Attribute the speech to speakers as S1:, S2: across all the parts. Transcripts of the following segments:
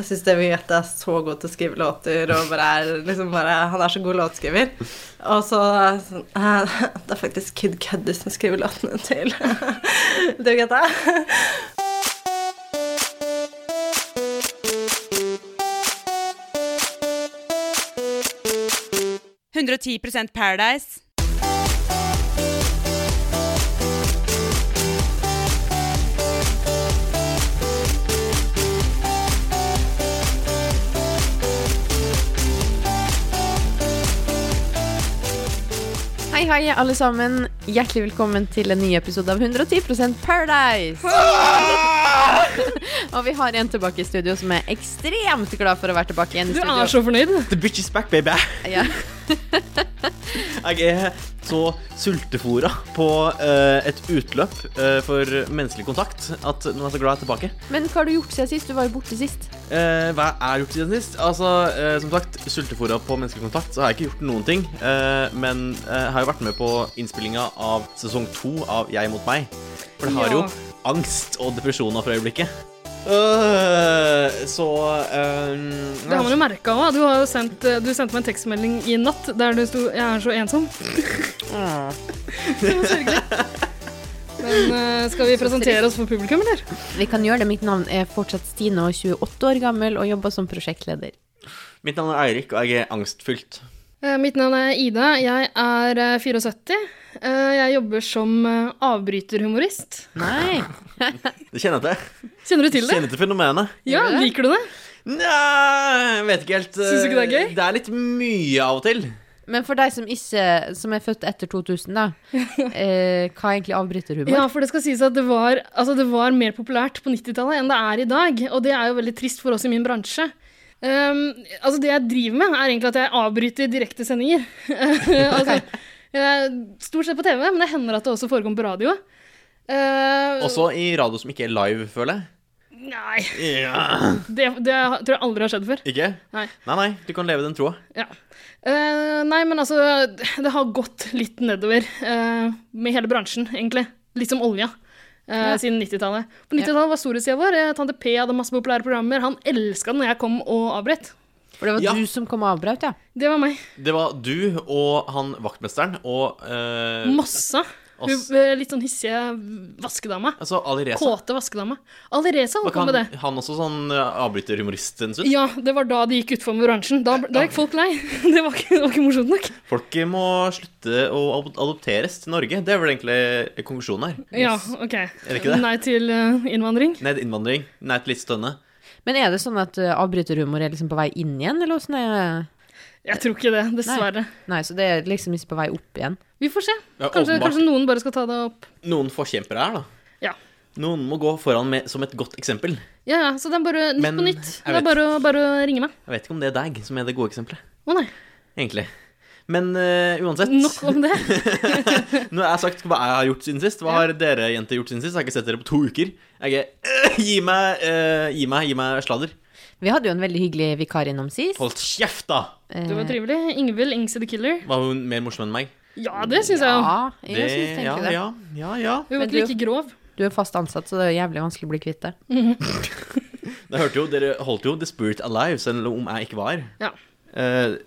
S1: Jeg syns det vi gjett er så god til å skrive låter, og bare er, liksom bare, han er så god låtskriver. Og så er jeg sånn, eh, Det er faktisk Kid Cuddy som skriver låtene til Dave Guetta.
S2: det. 110 Paradise.
S3: Hei, hei, alle sammen. Hjertelig velkommen til en ny episode av 110 Paradise.
S4: Ah!
S3: og vi har en tilbake i studio som er ekstremt glad for å være tilbake igjen i
S4: Du
S3: studio.
S4: er så fornøyd.
S5: The bitch is back, baby.
S3: Ja.
S5: Jeg er så sultefora på eh, et utløp eh, for menneskelig kontakt at nå er jeg så glad jeg er tilbake.
S3: Men hva har du gjort siden sist? Du var jo borte sist.
S5: Eh, hva jeg har gjort siden sist? Altså, eh, som sagt, sultefora på menneskelig kontakt, så har jeg ikke gjort noen ting. eh, men eh, jeg har jo vært med på innspillinga av sesong to av Jeg mot meg. For det har jo
S4: Ja.
S5: angst og depresjoner for øyeblikket. Øh, så eh,
S4: Det har man jo merket også. Du, har jo sendt, eh, du sendte meg en tekstmelding i natt der du sto 'Jeg er så ensom'.
S3: Mm.
S4: Det var sørgelig. Men eh, skal vi presentere oss for publikum, eller?
S3: Vi kan gjøre det. Mitt navn er fortsatt Stine og 28 år gammel og jobber som prosjektleder.
S5: Mitt navn er Eirik, og jeg er angstfylt.
S4: Eh, Mitt navn er Ida. Jeg er eh, 74. Eh, Jeg jobber som eh, avbryterhumorist.
S3: Nei.
S5: Det kjenner jeg til.
S4: Kjenner du til det?
S5: Kjenner til fenomenet.
S3: Gjør
S4: Ja,
S3: du det?
S4: Liker du det?
S5: Nei, jeg vet ikke helt. eh,
S4: Syns du ikke det er gøy?
S5: Det er litt mye av og til.
S3: Men for deg som ikke som er født etter 2000, da. Eh, hva er egentlig avbryterhumor?
S4: Ja, for det skal sies at det var, altså det var mer populært på 90-tallet enn det er i dag. Og det er jo veldig trist for oss i min bransje. Ehm, altså det jeg driver med, er egentlig at jeg avbryter direktesendinger. altså, jeg er stort sett på TV, men det hender at det også forekommer på radio. Ehm,
S5: Også i radio som ikke er live, føler
S4: Nei,
S5: jeg. Ja.
S4: det, det tror jeg aldri har skjedd før.
S5: Ikke?
S4: Nei.
S5: nei, nei, du kan leve den troa.
S4: Ja. Eh, nei, men altså, det har gått litt nedover eh, med hele bransjen, egentlig. Litt som olja. eh,
S3: Ja.
S4: Siden 90-tallet. På 90-tallet var storhetstida vår. eh, Tante P hadde masse populære programmer. Han elska når jeg kom og avbrøt.
S3: For det var
S5: Ja.
S3: du som kom og avbrøt, ja.
S4: Det var meg.
S5: Det var du og han vaktmesteren og eh,
S4: Masse. Hun,
S5: oss.
S4: eh, litt sånn hissige vaskedama.
S5: Altså Ali Reza.
S4: Kåte vaskedama. Alireza
S5: Var
S4: holdt
S5: ikke
S4: på med det.
S5: han, han også sånn eh, avbryterhumorist en stund?
S4: Ja, det var da det gikk utfor med bransjen. Da, da gikk folk lei. Det var ikke, det var ikke morsomt nok.
S5: Folk må slutte å ad- adopteres til Norge. Det er vel egentlig konklusjonen her.
S4: Ja, OK.
S5: Er det ikke det?
S4: Nei til eh, innvandring.
S5: Nei til innvandring, nei til litt stønne.
S3: Men er det sånn at eh, avbryterhumor er liksom på vei inn igjen, eller åssen er
S4: Jeg tror ikke det, dessverre.
S3: Nei, så det er liksom ikke på vei opp igjen.
S4: Vi får se.
S5: Ja,
S4: Kanskje,
S5: åpenbart.
S4: kanskje noen bare skal ta det opp.
S5: Noen forkjempere her, da.
S4: Ja.
S5: Noen må gå foran med, som et godt eksempel.
S4: Ja, ja, så det er bare nytt
S5: Men,
S4: på nytt.
S5: jeg
S4: Det er
S5: vet.
S4: bare, å- bare å ringe meg.
S5: Jeg vet ikke om det er deg som er det gode eksempelet.
S4: Å nei,
S5: egentlig. Men eh, uansett,
S4: nok om det.
S5: nå har jeg sagt hva jeg har gjort siden sist. Hva har dere jenter gjort siden sist? Jeg har ikke sett dere på to uker. Jeg er Gi meg, eh, gi meg, gi meg sladder.
S3: Vi hadde jo en veldig hyggelig vikar innom sist.
S5: Hold kjeft, da!
S3: Eh,
S4: Det var trivelig. Ingvild Ingse the Killer.
S5: Var hun mer morsom enn meg?
S4: Ja, det syns jeg jo.
S3: Ja, jeg synes
S5: ja,
S3: egentlig det.
S5: ja, ja, ja.
S4: Hun var
S3: Men
S4: ikke like grov.
S3: Du er fast ansatt, så det er jævlig vanskelig å bli kvitt det.
S5: Jeg hørte jo, Dere holdt jo The Spirit Alive, selv om jeg ikke var her.
S4: Ja.
S5: Eh,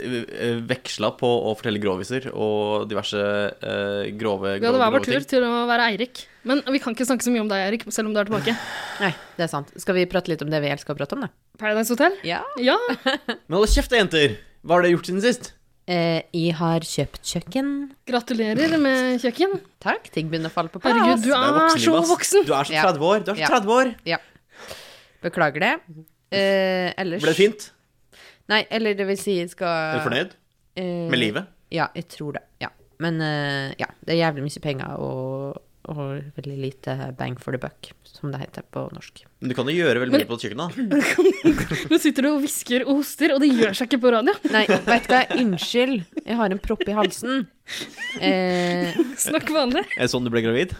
S5: eh, veksla på å fortelle groviser og diverse eh, grove, grove,
S4: Vi hadde hver
S5: grove
S4: vår
S5: ting.
S4: tur til å være Eirik. Men vi kan ikke snakke så mye om deg, Eirik, selv om du er tilbake.
S3: Nei, det er sant. Skal vi prate litt om det vi elsker å prate om, da?
S4: Paradise Hotel?
S3: Ja.
S4: Ja.
S5: Men hold kjeft, da, jenter! Hva har dere gjort siden sist?
S3: Eh, jeg har kjøpt kjøkken.
S4: Gratulerer med kjøkken.
S3: Takk, ting begynner å falle på plass.
S4: Herregud, du
S5: Det
S4: er
S5: voksenliv,
S4: så
S5: ass.
S4: voksen.
S5: Du er så
S3: Ja.
S5: 30 år. Du er
S3: Ja.
S5: så 30 år.
S3: Beklager det. Eh, ellers
S5: Ble det fint?
S3: Nei, eller det vil si skal
S5: Er du fornøyd
S3: Eh,
S5: med livet?
S3: Ja, jeg tror det. Ja. Men eh, ja, det er jævlig mye penger og, og veldig lite bang for the buck, som det heter på norsk.
S5: Men du kan jo gjøre veldig mye på et kjøkken, da.
S4: Nå sitter du og hvisker og hoster, og det gjør seg ikke på radio.
S3: Nei, vet du hva, unnskyld, jeg har en propp i halsen. Eh,
S4: Snakk vanlig.
S5: Er det sånn du ble gravid?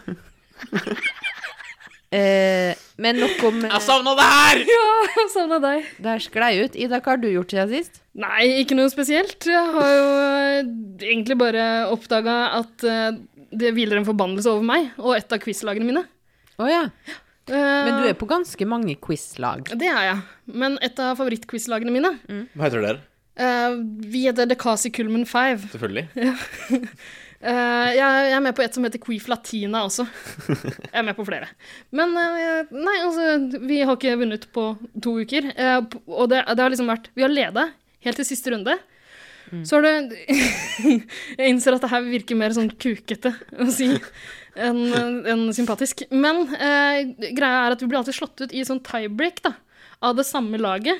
S3: eh, men nok om eh,
S5: savna det her!
S4: Ja, savna deg.
S3: Det her sklei ut. Ida, hva har du gjort siden sist?
S4: Nei, ikke noe spesielt. Jeg har jo eh, egentlig bare oppdaga at eh, det hviler en forbannelse over meg og et av quizlagene mine.
S3: Å ja. Men du er på ganske mange quiz-lag.
S4: Det er jeg. Men et av favorittquiz-lagene mine
S5: Hva heter dere?
S4: eh, Vi heter Dekasi Kulmen 5.
S5: Selvfølgelig.
S4: Eh, jeg, jeg er med på et som heter Queef Latina også. Jeg er med på flere. Men eh, nei, altså Vi har ikke vunnet på to uker. Eh, p- og det, det har liksom vært Vi har leda helt til siste runde. Så har det Jeg innser at det her virker mer sånn kukete å si enn enn sympatisk. Men eh, greia er at vi blir alltid slått ut i sånn tiebreak da, av det samme laget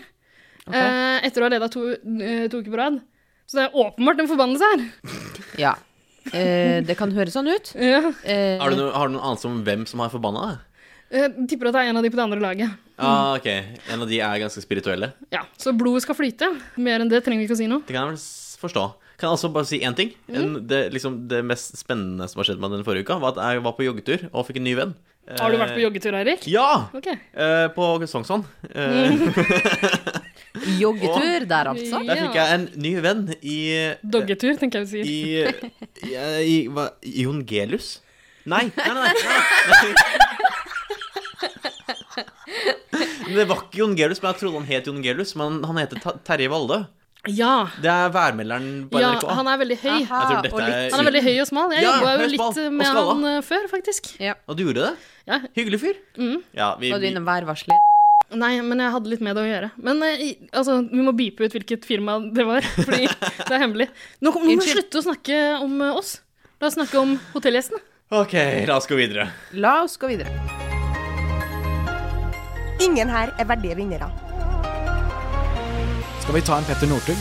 S4: eh, etter å ha leda to, eh, to uker på rad. Så det er åpenbart en forbannelse her.
S3: Ja. Eh, det kan høres sånn ut.
S4: Ja.
S3: Eh,
S5: Har du, noe, har du noen anelse om hvem som har forbanna deg?
S4: Eh, tipper at det er en av de på det andre laget.
S5: Ah, ok. En av de er ganske spirituelle.
S4: Ja, Så blodet skal flyte. Mer enn det trenger vi ikke å si nå.
S5: Det kan jeg vel s- forstå. Kan jeg altså bare si én ting? En, det, liksom, det mest spennende som har skjedd meg den forrige uka, var at jeg var på joggetur og fikk en ny venn.
S4: Har du vært på joggetur, Eirik?
S5: Eh, Ja!
S4: Ok.
S5: Eh, på Sognsvann. Eh,
S3: joggetur der, altså.
S5: Der fikk jeg en ny venn i
S4: Doggetur, tenker jeg vi sier.
S5: I, i, i hva, Jon Gelius? Nei, nei, nei, nei, nei. Det var ikke Jon Gelius, men jeg trodde han het Jon Gelius. Men han heter Ta- Terje Valle.
S4: Ja.
S5: Det er værmelderen på
S4: ja.
S5: NRK.
S4: Han er veldig høy.
S3: Aha,
S5: Jeg tror dette
S3: og litt-
S5: er-
S4: Han er veldig høy og smal. Jeg
S5: Ja,
S4: jobba
S5: høy
S4: jo
S5: og
S4: litt
S5: smal, og
S4: med
S5: skalla.
S4: han eh, før, faktisk.
S5: Og du gjorde det?
S4: Ja. Mm.
S5: Hyggelig fyr. Ja, vi,
S3: Var du
S5: vi,
S3: innom værvarselet?
S4: Nei, men jeg hadde litt med det å gjøre. Men eh, i- altså, vi må beepe ut hvilket firma det var, fordi det er hemmelig. Nå må vi
S3: Unnskyld.
S4: slutte å snakke om eh, oss. La oss snakke om hotellgjestene.
S5: OK, la oss gå videre.
S3: La oss gå videre.
S6: Ingen her er verdige vinnere.
S7: Skal vi ta en Petter Northug?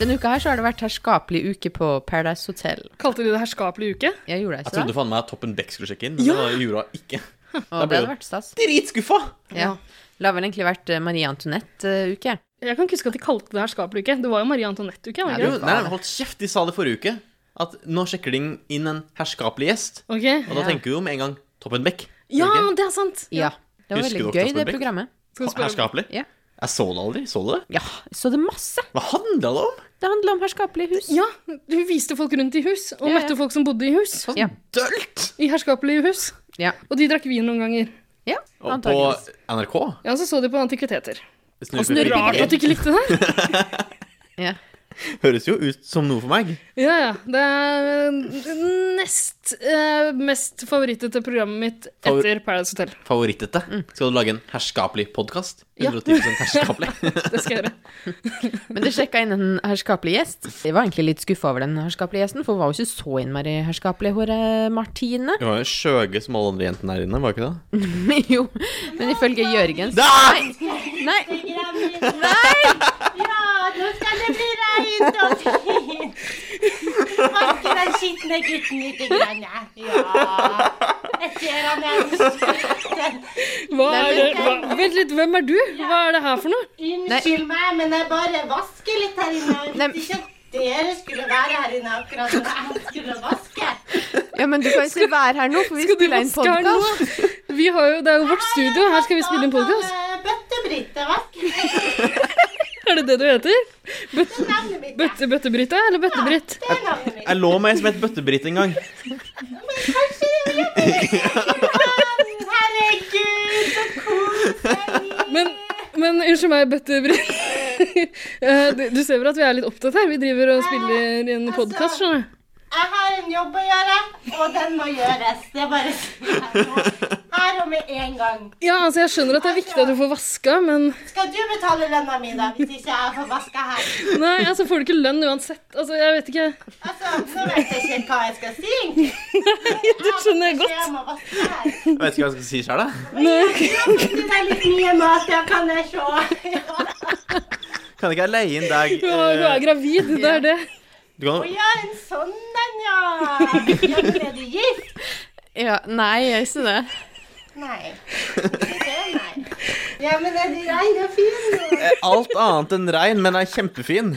S3: Denne uka her så har det vært herskapelig uke på Paradise Hotel.
S4: Kalte de det herskapelig uke?
S3: Jeg gjorde det
S5: Jeg
S3: ikke
S5: trodde
S3: det?
S5: faen meg at Toppen Beck skulle sjekke inn, men det gjorde hun ikke.
S3: Og
S5: Da
S3: det
S5: ble
S3: hadde
S5: det-
S3: vært stas.
S5: Dritskuffa!
S3: Ja. Det har vel egentlig vært eh, Marie eh, Antoinette-uke.
S4: Jeg kan ikke huske at de kalte det herskapelig uke. Det var jo Marie Antoinette-uke. var det
S5: Jo,
S4: ikke det?
S5: Nei, nei, holdt kjeft, de sa det forrige uke. At nå sjekker de inn en herskapelig gjest.
S4: Ok.
S5: Og da
S3: Ja.
S5: tenker vi jo med en gang Toppen Beck.
S4: Ja,
S5: Gjør vi
S4: det er sant!
S3: Ja. Det var
S5: Husker
S3: veldig
S5: dere
S3: gøy,
S5: Dr.
S3: det
S5: Beck?
S3: programmet.
S4: Skal vi spørre-
S5: Herskapelig.
S3: Ja.
S5: Jeg så det aldri. Så du det?
S3: Ja, så det masse.
S5: Hva handla det om?
S3: Det handler om herskapelige hus.
S4: Ja, hun viste folk rundt i hus,
S3: Ja,
S4: og
S3: ja.
S4: møtte folk som bodde i hus.
S3: Ja.
S5: Dølt!
S4: I herskapelige hus.
S3: Ja,
S4: Og de drakk vin noen ganger.
S3: ja
S5: Og på
S3: antageligvis.
S5: NRK.
S4: Ja, så så de på antikviteter.
S3: snurrepikker.
S4: Altså, Rart at du ikke likte det.
S3: Ja.
S5: Høres jo ut som noe for meg.
S4: Ja, ja. Det er nest eh, mest favorittete programmet mitt
S5: Favor-
S4: etter Paradise Hotel.
S5: Favorittete. Skal du lage en herskapelig podkast?
S4: Mm. Ja.
S5: 110 herskapelig.
S4: Det skal jeg gjøre.
S3: Men det sjekka inn en herskapelig gjest. Jeg var egentlig litt skuffa over den herskapelige gjesten, for hun var jo ikke så innmari herskapelig, hun eh, Martine.
S5: Du var jo skjøge som alle andre jentene her inne, var ikke det?
S3: jo, men ifølge Jørgen så
S5: Da!
S3: Nei!
S8: Ja, nå skal det bli reint og fint. Vanker den skitne gutten lite grann. ja. Ja. Jeg ser han er sliten.
S4: Hva er det? Hva? Vent litt, hvem er du? Hva er det her for noe?
S8: Unnskyld meg, men jeg bare vasker litt her inne. Jeg
S3: Nei.
S8: visste ikke at dere skulle være her inne akkurat når jeg skulle vaske.
S3: Ja, men du kan ikke være her nå, for vi
S4: Skal du
S3: spiller inn
S4: vaske her
S3: podkast.
S4: nå? Vi har jo, det er jo vårt studio, her skal vi spille inn podkast.
S8: eh, Bøtte-Britt, jeg vasker
S4: Er det det du heter? Bøtte,
S8: navnet mitt. ja.
S4: bøtte, bøttebryte eller bøttebritt?
S8: Det er navnet mitt.
S5: Jeg lå med en som het Bøttebritt en gang.
S8: Herregud, så koselig.
S4: Men, men unnskyld meg, Bøtte-Britt. Eh, du, du ser vel at vi er litt opptatt her? Vi driver og spiller inn podkast, skjønner du.
S8: Jeg har en jobb å gjøre, og den må gjøres. Det er bare å si her nå. her og med en gang.
S4: Ja, altså, jeg skjønner at det er viktig at du får vaska, men
S8: Skal du betale lønna mi, da, hvis ikke jeg får vaska her?
S4: nei, altså, får du ikke lønn uansett? Altså, jeg vet ikke.
S8: Altså, Nå vet jeg ikke hva jeg skal si. egentlig.
S4: Det skjønner jeg godt.
S8: Jeg må vaske her.
S5: Jeg vet ikke hva jeg skal si sjøl, jeg.
S8: Det er litt mye mat, ja, kan jeg se.
S5: Kan ikke jeg leie inn deg
S4: Du er, du
S5: eh,
S4: er gravid, det er det.
S5: Du kan
S8: Å ja, en sånn en, ja. Ja, men Er du gift?
S3: Ja, nei, jeg er ikke det.
S8: Nei. Ikke det, nei. Ja, men er du rein og fin? nå?
S5: eh, alt annet enn rein, men er kjempefin.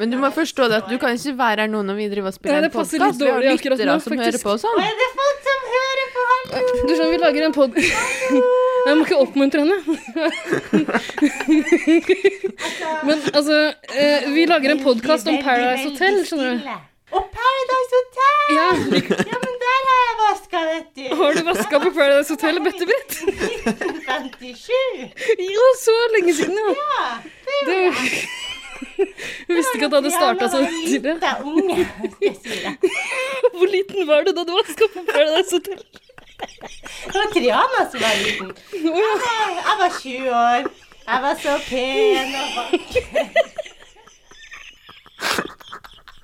S3: Men du må forstå det at du kan ikke være her nå når vi driver og
S4: Nei,
S3: spiller
S4: det
S3: en
S4: passer litt
S3: podkast. Vi har
S4: dårlig akkurat
S3: lyttere
S4: nå,
S3: som
S4: faktisk.
S3: hører på og
S8: Og
S3: sånn.
S8: er det folk som hører på her?
S4: Du skjønner, vi lager en pod... Jeg må ikke oppmuntre henne. Men altså, eh, vi lager en podkast om
S8: Veldig,
S4: Paradise
S8: veldig
S4: Hotel, skjønner du.
S8: stille. Og Paradise Hotel!
S4: Ja,
S8: Ja, men der har jeg vaska, vet du.
S4: Har du vaska på Paradise Hotel og bøttebrett?
S8: 1957.
S4: Jo, så lenge siden, ja.
S8: Ja, det
S4: Det... Jeg visste ikke at det sånn hadde starta så tidlig.
S8: tidlig. Unge, skal jeg si deg.
S4: Hvor liten var du da du vaska på Paradise Hotel?
S8: Det var Triana som var liten.
S4: Å ja.
S8: Nei, Jeg var 20 år. Jeg var så pen og vakker.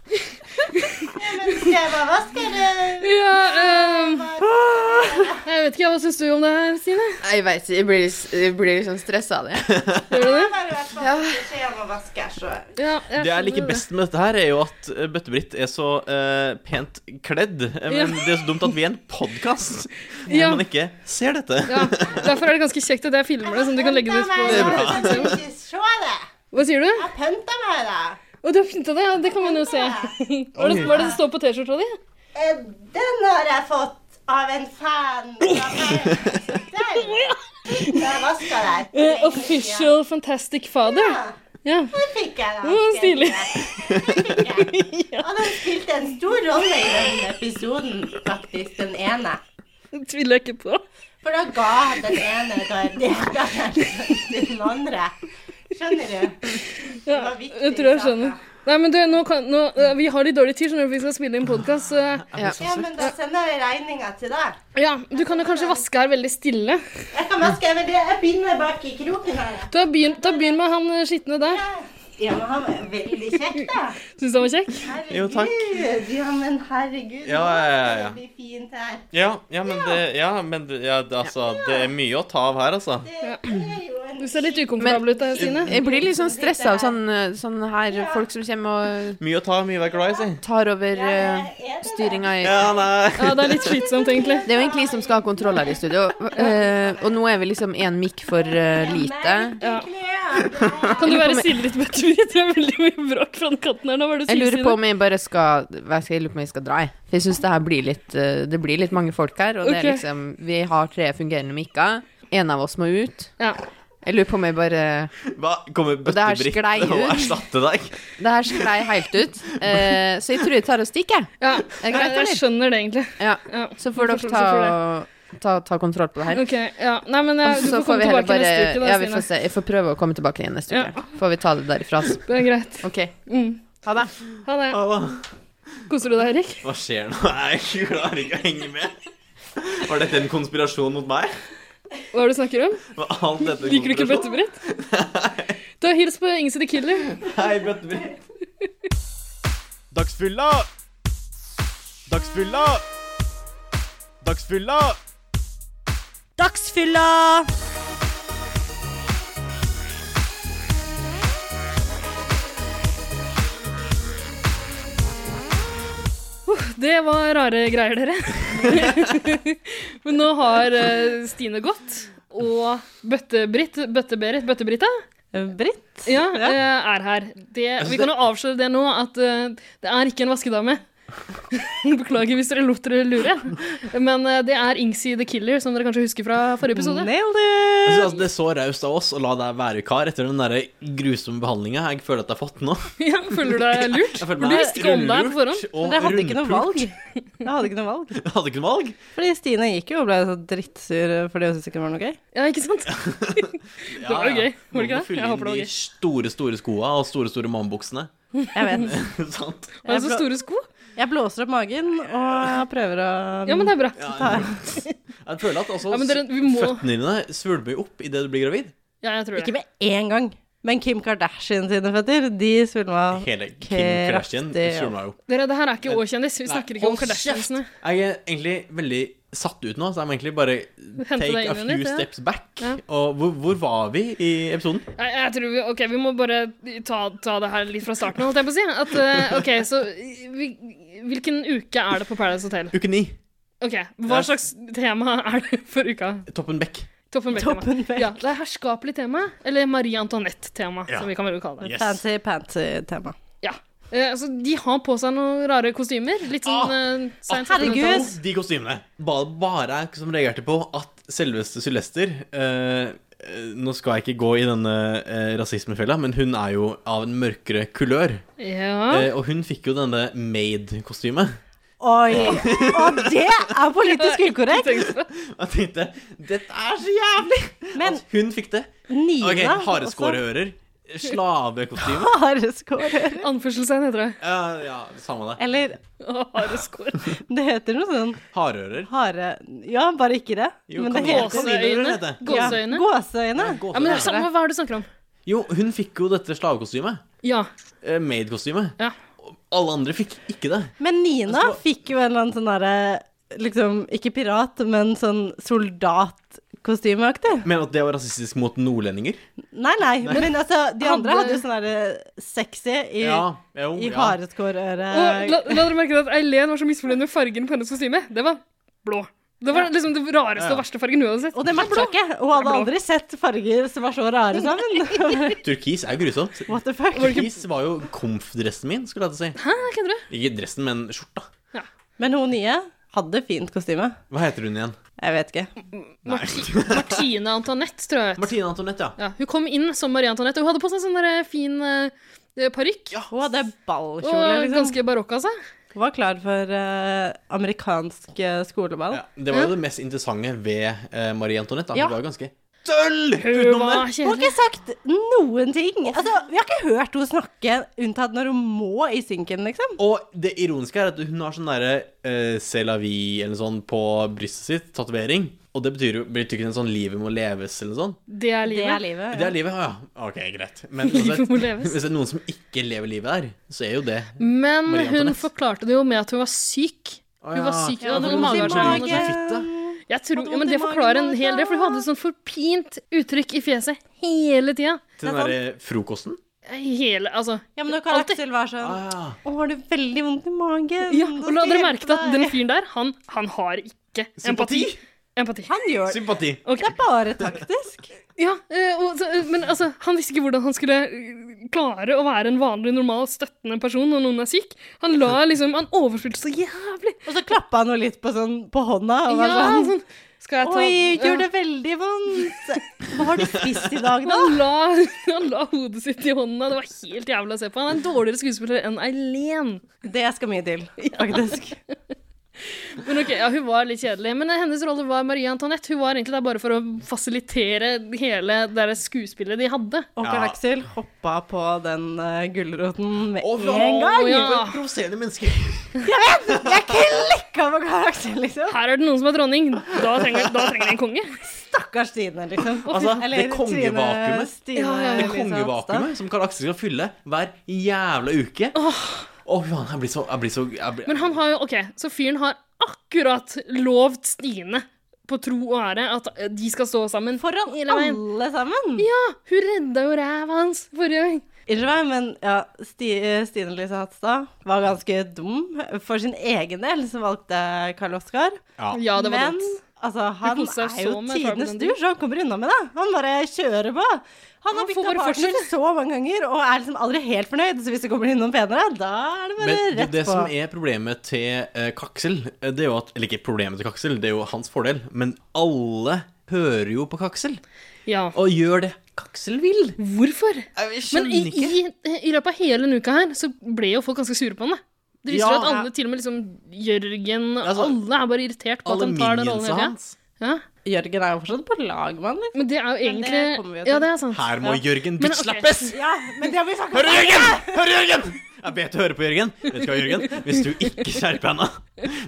S8: Ja, men Skal jeg bare vaske, eller?
S4: ja ehm, Jeg vet ikke, hva syns du om det her, Stine?
S3: Jeg veit ikke. Jeg blir, litt- jeg blir litt sånn stressa av det.
S4: Gjør du det?
S8: Jeg har i hvert fall fått beskjed om å vaske, så
S4: Ja, jeg
S5: Det jeg
S4: skjønner
S5: liker best med dette, her er jo at eh, Bøtte-Britt er så eh, pent kledd. eh, Men
S4: Ja.
S5: det er så dumt at vi er en podkast hvor
S4: Ja.
S5: man ikke ser dette.
S4: Ja, derfor er det ganske kjekt at jeg filmer det, sånn at du kan legge det ut
S8: Det er bra.
S4: på
S8: Ikke se det.
S4: Hva sier du?
S8: Jeg pynta meg, da.
S4: Å, du har pynta deg? Ja, det kan man jo se. Hva er det, hva er det som står på T-skjorta di?
S8: Eh, Den har jeg fått av en fan. fra Paradise Hotel. Jeg vaska der.
S4: Eh, official Fantastic Father. Ja.
S8: Den fikk jeg, da.
S4: Mm, stilig.
S8: Den fikk jeg. Og den spilte en stor rolle i den episoden, faktisk. Den ene.
S4: det Tviler jeg ikke på.
S8: For da ga den ene gar- deltakeren til den andre. Skjønner du?
S4: Ja,
S8: var viktig
S4: jeg tror jeg
S8: sak,
S4: skjønner.
S8: da.
S4: Nei, men du, nå kan, nå, eh, vi har litt dårlig tid, skjønner du, for vi skal spille inn podkast.
S3: Ja.
S8: Ja, men da sender jeg regninga til deg.
S4: Ja, du kan jo kanskje vaske her veldig stille.
S8: Jeg kan vaske, men det- jeg begynner bak i kroken her.
S4: Ta begynn ta begynn med han eh, skitne der.
S8: Ja, men han var veldig kjekk, da.
S4: Syns du han var kjekk?
S8: Herregud.
S5: Jo, takk.
S8: Ja, men herregud.
S5: Ja, ja, ja, ja.
S8: Det blir fint her.
S5: Ja, ja, men, det, ja, men det- ja, det- altså, det er mye å ta av her, altså.
S8: Det er jo en
S4: Du ser litt ukomfortabel ut der, Stine.
S3: Jeg blir litt sånn stressa av sånn, eh, sånn her folk som kommer og
S5: Mye å ta, mye å være glad i, si.
S3: tar over
S4: eh,
S8: Ja,
S3: uh,
S8: det er det.
S3: styringa i
S5: Ja, nei.
S4: Ja, det er litt slitsomt, egentlig.
S3: Det er jo egentlig vi som skal ha kontroll her i studio, eh, og nå er vi liksom én mikk for eh, lite.
S4: Ja.
S8: Ja.
S4: Kan
S3: Jeg
S4: du
S3: lurer på
S4: være
S3: om-
S4: stille litt, Bettfrid? Det er veldig mye bråk fra den kanten her. Nå var det
S3: Jeg lurer på
S4: syvsiden.
S3: om jeg bare skal hva skal jeg lurer på om jeg skal dra, jeg. For jeg syns det her blir litt eh, Det blir litt mange folk her, og det er
S4: Ok.
S3: liksom Vi har tre fungerende mikker. En av oss må ut.
S4: Ja.
S3: Jeg lurer på om jeg bare
S5: Hva? Kommer
S3: det her
S5: Bøtte-Britt
S3: sklei
S5: og
S3: ut.
S5: erstatte deg?
S3: Det her sklei helt ut. Eh, så jeg tror jeg tar og stikker, jeg.
S4: ja.
S3: Er det greit,
S4: Jeg- Jeg
S3: eller?
S4: skjønner det, egentlig.
S3: Ja.
S4: Ja.
S3: Så får
S4: Så
S3: dere
S4: får-
S3: ta,
S4: så
S3: ta, ta kontroll på det her.
S4: Ok, ja. Nei, men eh,
S3: Og så
S4: du får
S3: får
S4: komme
S3: vi heller
S4: tilbake
S3: bare
S4: neste uke, da,
S3: Ja, vi
S4: Stine.
S3: får se. Jeg får prøve å komme tilbake igjen neste
S4: Ja.
S3: uke. Får vi ta det derifra. så.
S4: Det er greit.
S3: OK.
S4: Mm.
S3: Ha det.
S4: Ha det. Koser du deg, Erik?
S5: Hva skjer nå? Jeg klarer ikke å henge med. Var dette en konspirasjon mot meg?
S4: Hva er det du snakker om?
S5: Var alt dette en
S4: Liker du ikke
S5: konspirasjon?
S4: bøttebrett? Da hils på Ingse the Killer.
S5: Hei, Bøtte-Britt. Dagsfylla! Dagsfylla! Dagsfylla!
S2: Dagsfylla!
S4: Det var rare greier, dere. Men nå har eh, Stine gått, og Bøtte-Britt Bøtte-Berit Bøtte-Britta
S1: Britt?
S4: ja,
S1: Ja.
S4: eh, er her. Det, vi kan jo avsløre det nå, at eh, det er ikke en vaskedame. Beklager hvis dere lot dere lure. Men eh, det er Ingsi the Killer, som dere kanskje husker fra forrige episode.
S1: Nailed it!
S5: Altså, det er så raust av oss å la deg være vikar etter den der grusomme behandlinga jeg føler at jeg har fått nå.
S4: Ja, føler du deg lurt?
S5: Jeg føler
S4: Men du
S5: meg
S4: visste ikke om det her på
S5: rullurt
S4: forhånd.
S5: og
S1: Men jeg hadde ikke noe
S5: rundpult.
S1: valg. Jeg hadde ikke noe valg.
S5: Jeg hadde ikke noe valg.
S1: Fordi Stine gikk jo og ble så drittsur eh, fordi hun syntes ikke det var noe gøy.
S4: Ja, ikke sant? Det var jo gøy. Var det ikke
S5: Noen må
S4: det?
S5: fylle
S4: Jeg
S5: inn
S4: håper det var
S5: de
S4: gøy.
S5: store, store skoa og store, store mannbuksene.
S1: Jeg vet.
S5: Sant?
S4: Var det
S1: Jeg,
S4: så
S1: blå,
S4: store sko?
S1: jeg blåser opp magen og jeg prøver å
S4: Um, Ja, men det er bra.
S5: Ja, jeg, jeg føler at altså,
S4: Ja, men dere, vi må
S5: føttene dine svulmer jo opp idet du blir gravid.
S4: Ja, jeg tror
S1: Ikke
S4: det.
S1: med én gang. Men Kim Kardashian sine føtter, de svulma
S5: Hele Kim Kardashian
S1: kraftig opp.
S5: svulmer jo opp.
S4: Dere, det her er ikke Å-kjendis. Vi snakker ikke om Kardashiansene.
S5: Jeg er egentlig veldig satt ut nå, så jeg må egentlig bare take
S4: deg
S5: a
S4: inn igjen
S5: few
S4: litt, ja.
S5: steps back.
S4: Ja.
S5: Og hvor, hvor var vi i episoden?
S4: Nei, jeg tror vi, ok, vi må bare ta, ta det her litt fra starten av, holdt jeg på å si. At, eh, ok, så vi, Hvilken uke er det på Paradise Hotel?
S5: Uke ni.
S4: Ok, Hva slags tema er det for uka?
S5: Toppen Beck.
S4: Toppen Beck-tema.
S1: Toppen vekk.
S4: Ja, det er herskapelig tema, eller Marie Antoinette-tema,
S5: Ja.
S4: som vi kan vel kalle det.
S5: Yes.
S1: Fancy, fancy tema.
S4: Ja. Eh, altså, de har på seg noen rare kostymer. Litt
S5: Ah.
S4: sånn eh, science
S1: herregud!
S5: Og de kostymene. Bare, bare jeg som reagerte på at selveste Sylvester eh, eh, Nå skal jeg ikke gå i denne eh, rasismefella, men hun er jo av en mørkere kulør.
S4: Ja.
S5: Eh, og hun fikk jo denne maid-kostymet.
S1: Oi! Og det er politisk ukorrekt!
S5: Jeg tenkte dette er så jævlig!
S1: Men
S5: At hun fikk det.
S1: Nina
S5: Ok,
S1: også-
S5: Hareskårehører. Slavekostyme.
S1: Hareskårehører.
S4: Anførselstegn heter det.
S5: Ja, ja, samme det.
S1: Eller
S4: Å, Hareskår.
S1: det heter noe sånn
S5: Harører.
S1: hare... Ja, bare ikke det.
S5: Jo,
S1: Men det
S5: kaniner.
S1: heter
S5: Kaniner,
S4: Gåseøyne.
S5: heter det.
S1: Ja,
S4: Gåseøyne.
S1: gåseøyne.
S5: Gåseøyne.
S4: Ja, men det er samme hva er det du snakker om.
S5: Jo, hun fikk jo dette slavekostymet.
S4: Ja.
S5: Eh, Maid-kostymet.
S4: ja.
S5: Alle andre fikk ikke det.
S1: Men Nina
S5: Altså-
S1: fikk jo en eller annen sånn derre Liksom, ikke pirat, men sånn soldatkostymeaktig.
S5: Men at det var rasistisk mot nordlendinger?
S1: Nei, nei, men altså, de andre
S4: Hadde-
S1: hadde jo sånn derre sexy i,
S5: jo,
S1: i
S5: ja.
S1: hareskårøre
S4: Og la, la dere merke til at Eileen var så misfornøyd med fargen på hennes kostyme. Det var blå. Det var liksom det rareste
S5: Ja.
S4: og verste fargen hun hadde sett.
S1: Og det matcha ikke. Hun hadde aldri sett farger som var så rare sammen.
S5: Turkis er jo grusomt.
S1: What the fuck?
S5: Turkis var jo komf-dressen min, skulle jeg til å si.
S4: Hæ, kødder du?
S5: Ikke dressen, men skjorta.
S1: Men hun nye hadde fint kostyme.
S5: Hva heter hun igjen?
S1: Jeg vet ikke.
S4: Martine Antoinette, tror jeg.
S5: Martine Antoinette, ja.
S4: Ja, hun kom inn som Marie Antoinette, og hun hadde på seg sånn der fin uh, parykk.
S1: Hun hadde
S4: Og
S1: ballkjole, liksom.
S4: ganske barokk altså. av seg.
S1: Hun var klar for eh, amerikansk eh, skoleball.
S5: ja. Det var jo det mest interessante ved eh, Marie Antoinette. da.
S1: Ja.
S5: Hun var jo ganske døll
S4: Hun
S5: utenom det.
S1: Hun
S4: var
S1: har
S4: kjedelig.
S1: ikke sagt noen ting. Altså, vi har ikke hørt henne snakke, unntatt når hun må i synken, liksom.
S5: Og det ironiske er at hun har sånn derre uh, C'est la vie eller sånn på brystet sitt, tatovering. Og det betyr jo betyr ikke en sånn livet må leves eller noe sånt.
S4: Det er livet.
S1: livet.
S5: Det er livet, ja. ja. Ok, greit. Men
S4: Livet
S5: uansett,
S4: må leves.
S5: hvis det er noen som ikke lever livet der, så er jo det
S4: Men
S5: Marie
S4: hun
S5: Antoinette.
S4: forklarte det jo med at hun var syk. Hun var syk.
S5: Ja,
S4: Hun hadde
S5: for
S4: noe
S5: hun var syk i
S4: mageverksjon.
S5: magen.
S4: og sånt. Jeg tror, ja, men det forklarer en hel del, for hun hadde sånn forpint uttrykk i fjeset hele tida.
S5: Til den derre frokosten?
S4: Hele, altså.
S1: Ja, men når Karl Aksel var sånn
S5: Ah,
S1: Å, har du veldig vondt i magen?
S4: Ja,
S1: Da
S4: og
S1: skal
S4: la
S1: jeg
S4: dere
S1: hjelpe
S4: merke til at den
S1: deg.
S4: fyren der, han, han har ikke empati.
S5: Sympati?
S4: Empati.
S1: Han gjør det.
S5: Sympati.
S4: Ok.
S1: Det er bare taktisk.
S4: Ja, eh, og, så, eh, men altså, han visste ikke hvordan han skulle eh, klare å være en vanlig, normal, støttende person når noen er syk. Han la liksom, han overspilte så jævlig.
S1: Og så klappa han henne litt på, sånn, på hånda og var
S4: Ja,
S1: sånn
S4: sånn, skal jeg ta...
S1: Oi, gjør
S4: Ja.
S1: det veldig vondt. Hva har du spist i dag, da?
S4: Han la, han la hodet sitt i hånda, det var helt jævlig å se på. Han er en dårligere skuespiller enn Eileen.
S1: Det skal mye til, faktisk.
S4: Men ok, ja, Hun var litt kjedelig, men eh, hennes rolle var Marie Antoinette. Hun var egentlig der bare for å fasilitere hele det der skuespillet de hadde.
S1: Og
S5: Ja.
S1: Karl Aksel hoppa på den eh, gulroten med
S5: Og
S1: en gang.
S4: Å, ja.
S5: For provoserende mennesker.
S1: Jeg klikka på Karl Aksel, liksom.
S4: Her er det noen som er dronning. Da trenger, da trenger de en konge.
S1: Stakkars Stine, liksom.
S5: Altså, det kongevakuumet.
S1: Stine,
S4: Ja, ja, ja.
S5: Det
S1: Elise Hofstad.
S5: kongevakuumet som Karl Aksel skal fylle hver jævla uke. Å, faen. Jeg blir så Jeg blir så jeg blir,
S4: Men han har jo OK, så fyren har akkurat lovt Stine på tro og ære at eh, de skal stå sammen.
S1: Foran
S4: Hele veien.
S1: alle sammen.
S4: Ja, hun redda jo ræva hans forrige gang.
S1: Unnskyld meg, men ja, Sti, eh, Stine Lise Hatstad var ganske dum. For sin egen del så valgte Karl Oskar.
S4: Ja, det var
S1: men
S4: dumt.
S1: altså, han
S4: koste seg
S1: er jo
S4: så med
S1: tidenes
S4: Tribal Blender.
S1: dur, så han kommer unna med det. Han bare kjører på. Han har
S4: Han får
S1: bytta
S4: bare
S1: partner
S4: fortsette.
S1: så mange ganger og er liksom aldri helt fornøyd. Så hvis det kommer inn noen penere, da er det bare
S5: Men det,
S1: rett
S5: det
S1: på.
S5: som er problemet til eh, Kaksel, eh, det er jo at Eller ikke problemet til Kaksel, det er jo hans fordel, men alle hører jo på Kaksel.
S4: Ja.
S5: Og gjør det Kaksel vil.
S4: Hvorfor?
S5: Jeg
S4: Men i,
S5: skjønner ikke.
S4: i, i løpet av hele denne uka her, så ble jo folk ganske sure på henne. Det viser
S5: Ja.
S4: jo at alle, til og med liksom Jørgen
S5: Altså,
S4: Alle er bare irritert på at
S5: Alle
S4: han tar den rollen.
S5: minionsa
S4: hele tiden.
S5: hans.
S4: Ja.
S1: Jørgen er jo fortsatt på lag med han, liksom.
S4: Men det er jo
S1: Men det
S4: egentlig
S1: kommer vi jo til.
S4: Ja, det er sant.
S5: Her må Jørgen
S4: Men, ok.
S5: bitchlappes!
S1: Ja, men det har vi snakket
S5: Hører du, Jørgen! Hører du, Jørgen! Jeg vet du hører på Jørgen. Vet du hva, Jørgen? Hvis du ikke skjerper henne,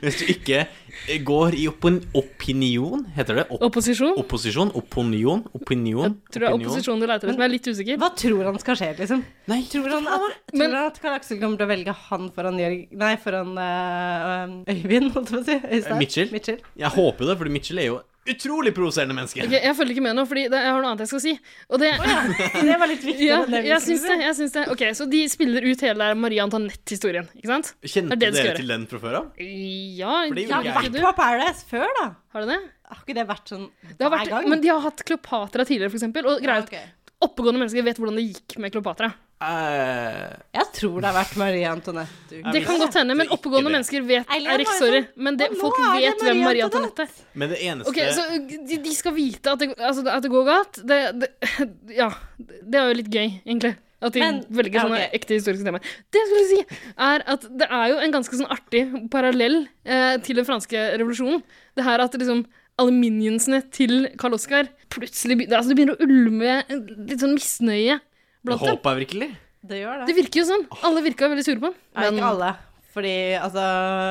S5: hvis du ikke eh, går i oppon opinion Heter det opp
S4: Opposisjon?
S5: opposisjon? Opinion? Opinion?
S4: Tror det er
S5: Opinion?
S4: opposisjonen du leter etter, men jeg er litt usikker.
S1: Hva tror han skal skje, liksom?
S5: Nei,
S1: Tror han at,
S4: Men-
S1: tror han at Karl Aksel kommer til å velge han foran Jørg... Nei, foran eh, Øyvind, holdt jeg på å si. Øystein.
S5: Mitchell.
S1: Eh, Mitchell.
S5: jeg håper jo det, fordi Mitchell er jo utrolig provoserende menneske.
S4: Ok, jeg følger ikke med nå, fordi det, jeg har noe annet jeg skal si. Og det,
S1: Det var litt viktig.
S4: ja,
S1: men det vi
S4: jeg
S1: skulle
S4: syns det. jeg syns det Ok, Så de spiller ut hele der Marie Antoinette-historien, ikke sant?
S5: Kjente
S4: det det skal
S5: dere
S4: gjøre.
S5: til den fra før av?
S4: Ja,
S5: For
S1: si.
S5: det
S1: Jeg
S5: gjorde
S1: har
S5: jeg.
S4: ikke
S1: vært
S4: du?
S1: på Paradise før, da.
S4: Har du det?
S1: Har ikke det vært sånn
S4: det har
S1: hver
S4: vært,
S1: gang?
S4: men de har hatt Kleopatra tidligere, for eksempel.
S1: Ja,
S4: Og greit,
S1: ok.
S4: oppegående mennesker vet hvordan det gikk med Kleopatra.
S5: Eh,
S1: Jeg tror det har vært Marie Antoinette.
S4: Det kan godt hende, men
S5: Ikke
S4: oppegående
S5: det.
S4: mennesker vet
S1: Eileen
S4: Eirik,
S1: var jo
S4: sorry.
S1: sånn,
S4: Men det,
S1: «Å, nå
S4: folk
S1: er det
S4: vet hvem
S1: Marie
S4: Marie
S1: Antoinette».
S4: Antoinette er.
S5: men det eneste
S4: Ok, så de, de skal vite at det, altså, at det går galt. Det, det, ja, det er jo litt gøy, egentlig. At de
S1: Men-
S4: velger
S1: ja,
S4: sånne
S1: ok.
S4: ekte historiske temaer. Det jeg skulle si, er at det er jo en ganske sånn artig parallell eh, til den franske revolusjonen. Det her at liksom alle minionsene til Karl Oskar plutselig be- altså, Det begynner å ulme litt sånn misnøye blant dem.
S5: Håpa jeg virkelig.
S1: Det gjør
S4: Det
S1: det.
S4: virker jo sånn. Alle virka veldig sure på han.
S1: Nei, ikke alle. Fordi altså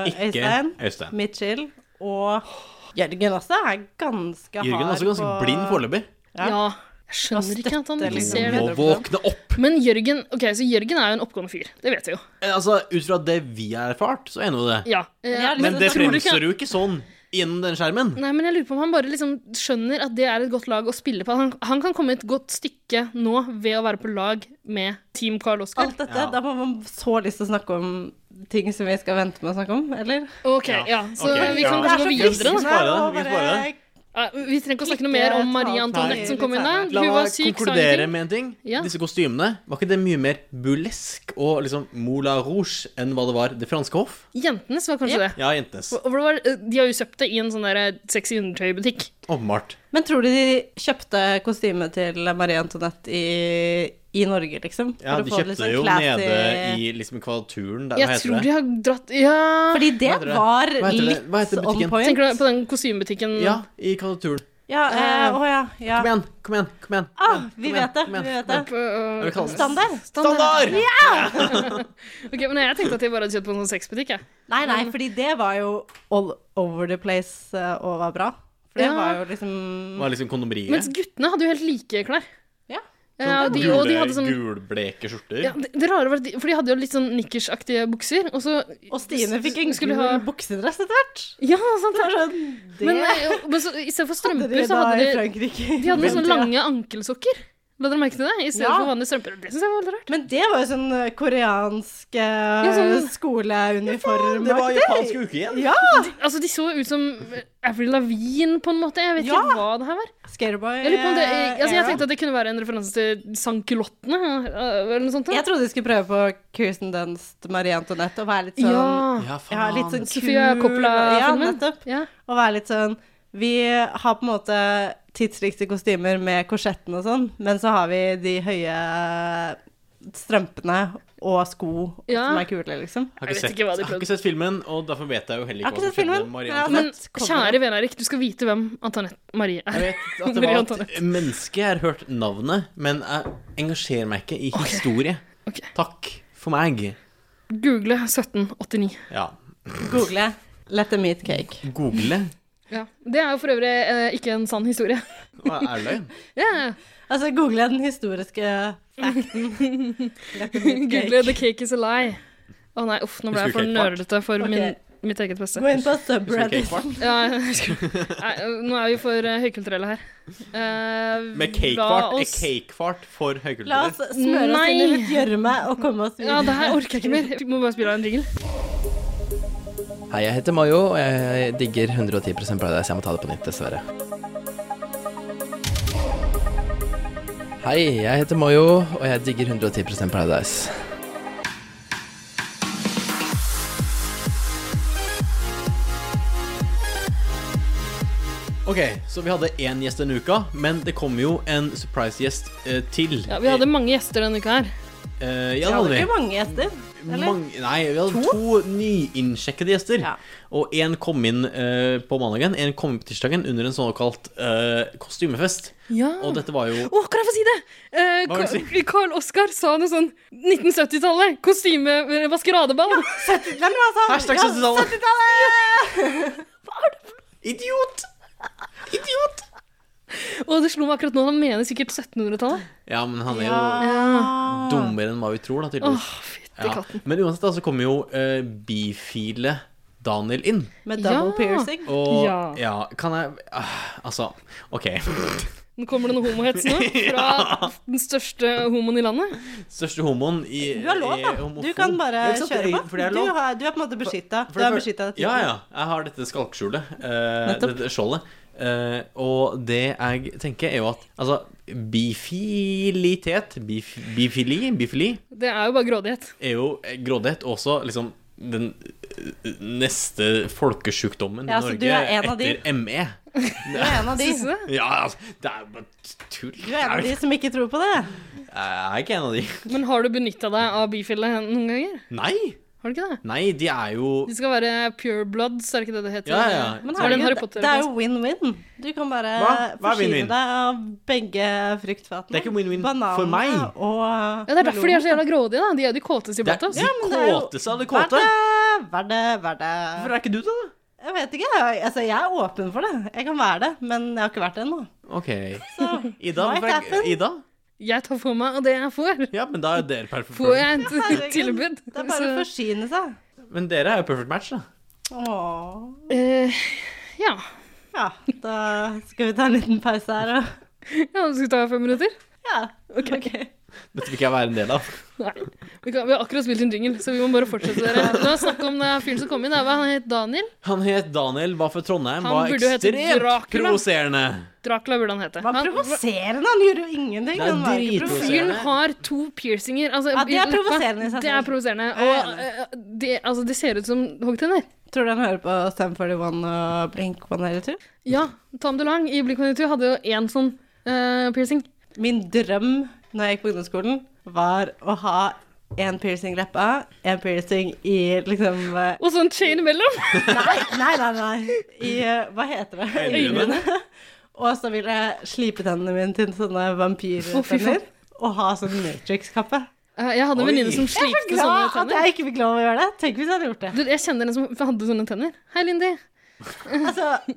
S5: Ikke
S1: Øystein,
S5: Øystein.
S1: Mitchell og Jørgen også er ganske hard
S5: Jørgen er også ganske
S1: på-
S5: blind foreløpig.
S1: Ja.
S4: Ja. Jeg skjønner ikke at han
S1: støtter
S4: ikke
S1: liksom
S4: ser
S5: Må
S4: det.
S1: det.
S5: våkne opp!
S4: Men Jørgen ok, så Jørgen er jo en oppgående fyr. Det vet vi jo.
S5: Eh, Altså, Ut fra det vi har erfart, så er nå det.
S4: Ja. eh,
S1: Ja,
S5: Men det
S4: tror du ikke-
S5: fremstår jo ikke sånn gjennom den skjermen.
S4: Nei, men jeg lurer på om han bare liksom skjønner at det er et godt lag å spille på. Han, han kan komme et godt stykke nå ved å være på lag med Team Carl Oskar.
S1: Alt dette.
S5: Ja.
S1: Da må man så lyst til å snakke om ting som vi skal vente med å snakke om, eller?
S4: Ok, ja. Så
S5: Ok,
S4: vi kan
S5: ja.
S4: kanskje gå videre, da.
S5: sparer det,
S1: Og
S5: vi
S1: bare-
S5: sparer det.
S4: Ja, Vi trenger ikke å snakke noe mer om Marie Antoinette som kom inn der.
S5: La
S4: Hun var
S5: meg
S4: syk, sa
S5: konkludere
S4: ingenting.
S5: med en ting.
S4: Ja.
S5: Disse kostymene, var ikke det mye mer burlesk og liksom Moulin Rouge enn hva det var det franske hoff?
S4: Jentenes var kanskje det.
S5: Ja, jentenes.
S4: Og hvor det var, eh, de har jo kjøpt det i en sånn der sexy undertøybutikk.
S5: Åpenbart.
S1: Men tror du de kjøpte kostymet til Marie Antoinette i, i Norge, liksom? For
S5: Ja,
S1: å
S5: de
S1: få det
S5: kjøpte
S1: litt sånn
S5: jo
S1: classy-
S5: nede i liksom kvadraturen der, hva
S4: Jeg
S5: heter
S4: tror
S5: det?
S4: de har dratt Ja
S1: Fordi det
S5: Hva heter det?
S1: var
S5: Hva heter det? Hva
S1: litt
S5: heter
S1: on
S5: butikken?
S1: point.
S4: Tenker du på den kostymebutikken?
S5: Ja, i kvadraturen.
S1: Ja, eh, å ja, ja.
S5: Kom igjen, kom igjen, kom igjen.
S1: Ah,
S5: kom
S1: vi
S5: igjen,
S1: vet det.
S5: kom igjen,
S1: Vi vet
S5: kom
S1: det.
S4: På, øh,
S5: Hva er det kalles?
S1: Standard.
S5: Standard!
S4: Ok, men Jeg tenkte at de bare hadde kjøpt på en sånn sexbutikk. Jeg.
S1: Nei, nei, fordi det var jo all over the place eh, og var bra. For det
S4: Ja.
S1: var jo liksom
S5: Det var liksom
S4: Mens
S5: kondomeriet.
S4: guttene hadde jo helt like klær.
S1: Ja.
S4: Ja, de,
S5: Gule,
S4: og de hadde sånn
S5: Gulbleke skjorter.
S4: ja, det, det rare var at de, For de hadde jo litt sånn nikkersaktige bukser, og så
S1: Og Stine fikk en gul
S4: Skulle ha-
S1: buksedress etter hvert.
S4: Ja, sant
S1: Det
S4: det!
S1: var sånn Det
S4: Men, eh, men så, i stedet for
S1: hadde
S4: strømper,
S1: de
S4: så
S1: da i
S4: hadde de
S1: Frankrike.
S4: De hadde sånn noen sånne
S1: Ja.
S4: lange ankelsokker. La dere merke til det? I stedet
S1: Ja.
S4: for vanlige strømper. Det synes jeg var veldig rart.
S1: Men det var jo sånn eh, koreansk eh,
S4: Ja, sånn-
S1: skoleuniform.
S5: Det var
S1: aktig.
S5: japansk uke igjen.
S1: Ja!
S4: Altså, De så ut som Avril Lavigne, på en måte. Jeg vet
S1: Ja.
S4: ikke hva det her var.
S1: Skaterboy.
S4: Jeg, lurer på om det,
S1: eh,
S4: altså, jeg
S1: era.
S4: tenkte at det kunne være en referanse til Sankelottene, eller noe sånt. da.
S1: Jeg trodde de skulle prøve på Kirsten Dunst, Marie Antoinette, og være litt sånn
S4: Ja.
S5: Ja,
S1: Ja, litt sånn
S4: Sofia
S1: kul- Ja,
S4: Coppola-filmen.
S1: nettopp.
S4: ja.
S1: Og være litt sånn Vi har på en måte tidsriktige kostymer med korsetten og sånn, men så har vi de høye strømpene og sko
S4: Ja.
S1: som er kule, liksom.
S5: Har ikke,
S4: Jeg vet
S5: sett,
S4: ikke hva de
S5: jeg har
S4: prøvde.
S5: ikke sett filmen, og derfor vet jeg jo heller
S1: Jeg har ikke
S5: ikke hva som
S1: sett
S5: skjedde
S1: filmen,
S5: med Marie
S1: men jeg har
S5: Antoinette.
S4: Men
S1: Antoinette kommer.
S4: kjære vene Erik, du skal vite hvem Antoinette Marie
S5: Jeg
S4: er.
S5: vet at det
S4: Marie
S5: var et
S4: Antoinette.
S5: menneske, jeg har hørt navnet, men jeg engasjerer meg ikke i historie.
S4: Ok.
S5: Takk for meg.
S4: Google 1789.
S5: Ja.
S1: Google 'Let them eat cake'.
S5: Google.
S4: Ja. Det er jo for øvrig eh, ikke en sann historie.
S5: Hva er løgn?
S4: Ja, ja.
S1: Altså, google den historiske facten. Let them eat cake.
S4: Google 'The cake is a lie'. Å nei, uff, nå ble
S5: Husker
S4: jeg
S5: du
S4: for
S5: cakefart?
S4: nølete for
S1: Ok.
S4: min, mitt eget beste.
S1: Gå inn på
S5: Husker du
S1: subreddit.
S5: cakefart?
S4: Ja, jeg husker- nei, nå er vi for eh, høykulturelle her. Eh,
S5: Med
S4: la
S5: cakefart er
S4: oss-
S5: cakefart for
S1: La oss smøre
S5: høykulturer.
S1: oss inn i
S4: Nei.
S1: litt gjørme og komme oss
S4: Ja, det
S1: videre.
S4: her orker jeg ikke mer. Vi må bare spille av en jingle.
S7: Hei, jeg heter Mayo, og jeg digger 110 Paradise. Jeg må ta det på nytt, dessverre. Hei, jeg heter Mayo, og jeg digger 110 Paradise.
S5: Ok, så vi hadde én gjest denne uka, men det kom jo en surprise-gjest eh, til.
S4: Ja, vi hadde mange gjester denne uka her.
S5: Eh, ja,
S1: Vi
S5: det hadde vi.
S1: ikke mange gjester. eller?
S5: Mange, nei, vi hadde to, nyinnskjekkede gjester.
S1: Ja.
S5: Og én kom inn eh, på mandagen, én kom inn på tirsdagen under en såkalt eh, kostymefest.
S4: Ja.
S5: Og dette var jo
S4: Å, kan jeg få si det? Eh,
S5: Hva vil du
S4: Ka- Karl Oskar sa noe sånn 1970-tallet, kostyme, eh, maskeradeball.
S1: Nei, men altså,
S5: Hashtag
S1: ja,
S5: 70-tallet.
S1: 70-tallet!
S5: Idiot! Idiot!
S4: Og det slo meg akkurat nå, han mener sikkert 1700-tallet.
S5: Ja, men han er jo
S1: Ja.
S4: Ja.
S5: dummere enn hva vi tror, da,
S4: Åh,
S5: tydeligvis.
S4: Ah, fytti
S5: Ja.
S4: katten.
S5: Men uansett da, så kommer jo eh, bifile Daniel inn.
S1: Med double
S4: Ja.
S1: piercing.
S5: Og ja,
S4: Ja.
S5: kan jeg ah, Altså, OK.
S4: Nå kommer det noe homohets nå, fra den største homoen i landet.
S5: Største homoen i
S1: Eh, Du har lov,
S5: i
S1: da.
S5: homofob.
S1: Du kan bare
S5: Ja, ikke sant?
S1: kjøre på.
S5: Fordi jeg Eh, er
S1: du,
S5: lov.
S1: har, du er på en måte beskytta.
S5: For
S1: Du
S5: det
S1: er
S5: før-
S1: beskytta.
S5: Ja, ja. Jeg har dette skalkskjulet. eh,
S1: Nettopp.
S5: dette skjoldet. Eh, og det jeg tenker, er jo at altså, bifilitet bif, Bifili? Bifili
S4: Det er jo bare grådighet.
S5: er jo eh, grådighet også liksom den eh, neste folkesjukdommen
S1: Ja,
S5: i
S1: så
S5: Norge
S1: du er en av de?
S5: etter ME.
S1: Du er en av de.
S4: Syns du det?
S5: Ja, altså, det er jo bare tull.
S1: Du er en av de som ikke tror på det.
S5: Jeg er ikke en av de.
S4: Men har du benytta deg av bifile noen ganger?
S5: Nei!
S4: Har du ikke det?
S5: Nei, de er jo
S4: De skal være pure bloods, er det ikke det det heter?
S5: Ja, ja.
S1: Men
S4: Så var det en Harry
S1: herregud,
S4: Potter-
S1: det er jo win-win. Du kan bare
S5: Hva? Hva er
S1: forsyne
S5: win-win?
S1: deg av begge fruktfatene.
S5: Det er ikke win-win for meg.
S1: og
S4: Ja, Det er derfor de er så jævla grådige, da. De er de kåteste
S5: Det
S4: blant
S5: er
S4: oss.
S5: de
S1: men det er jo-
S5: kåteste av de
S1: Vær
S5: kåte.
S1: det, vær det, vær det.
S5: Hvorfor er ikke du det, da?
S1: Jeg vet ikke. jeg- Altså, jeg er åpen for det. Jeg kan være det, men jeg har ikke vært det ennå.
S5: OK.
S1: Så
S5: Ida,
S1: Might
S5: hvorfor er ikke
S1: happen.
S5: Ida?
S4: Jeg tar for meg av det jeg får.
S5: Ja, men da er jo dere perfect
S4: Får
S5: match.
S4: jeg et
S1: herregud.
S4: tilbud?
S1: det er bare å
S4: Så-
S1: forsyne seg.
S5: Men dere er jo perfect match, da.
S1: Åh.
S4: Eh, ja.
S1: Ja, da skal vi ta en liten pause her og
S4: ja. Skal vi ta fem minutter?
S1: Ja. OK.
S5: Dette vil ikke jeg være en del av.
S4: Nei. Vi, kan, vi har akkurat spilt inn jingle, så vi må bare fortsette. dere. La oss snakke om den fyren som kom inn. da. Hva han het Daniel?
S5: Han het Daniel, var fra Trondheim,
S4: Han
S5: var
S4: burde jo hete
S5: ekstremt
S4: Dracula.
S5: provoserende.
S4: Dracula burde han hete.
S1: Han var
S4: Han-
S1: provoserende. Han gjorde jo ingenting.
S5: Det er
S1: Han var ikke
S5: dritprovoserende.
S1: provoserende.
S4: Fyren har to piercinger. Altså,
S1: Ja, det er
S4: i leppa.
S1: provoserende i seg
S4: Det
S1: selv.
S4: er provoserende.
S1: Jeg er
S4: Og eh, det, altså, det ser ut som hoggtenner.
S1: Tror du han hører på Stem 41 og Blink 182?
S4: Ja, Tom DeLang i Blink 182 hadde jo én sånn eh, piercing.
S1: Min drøm når jeg gikk på ungdomsskolen, var å ha en piercing i leppa, en piercing i liksom eh,
S4: Og så en chain imellom!
S1: Nei, nei, nei. nei. I eh, Hva heter det?
S5: Øynene.
S1: Øynene. Og så ville jeg slipe tennene mine til sånne
S4: Å, fy faen.
S1: vampyrtenner. Og ha sånn Matrix-kappe.
S4: Eh, jeg hadde en
S5: Oi.
S4: venninne som
S1: Jeg er så
S4: slipte sånne
S1: glad at
S4: tenner.
S1: jeg ikke fikk lov å gjøre det. Tenk hvis jeg hadde gjort det.
S4: Du, jeg kjenner en som hadde sånne tenner. Hei, Lindy.
S1: Altså,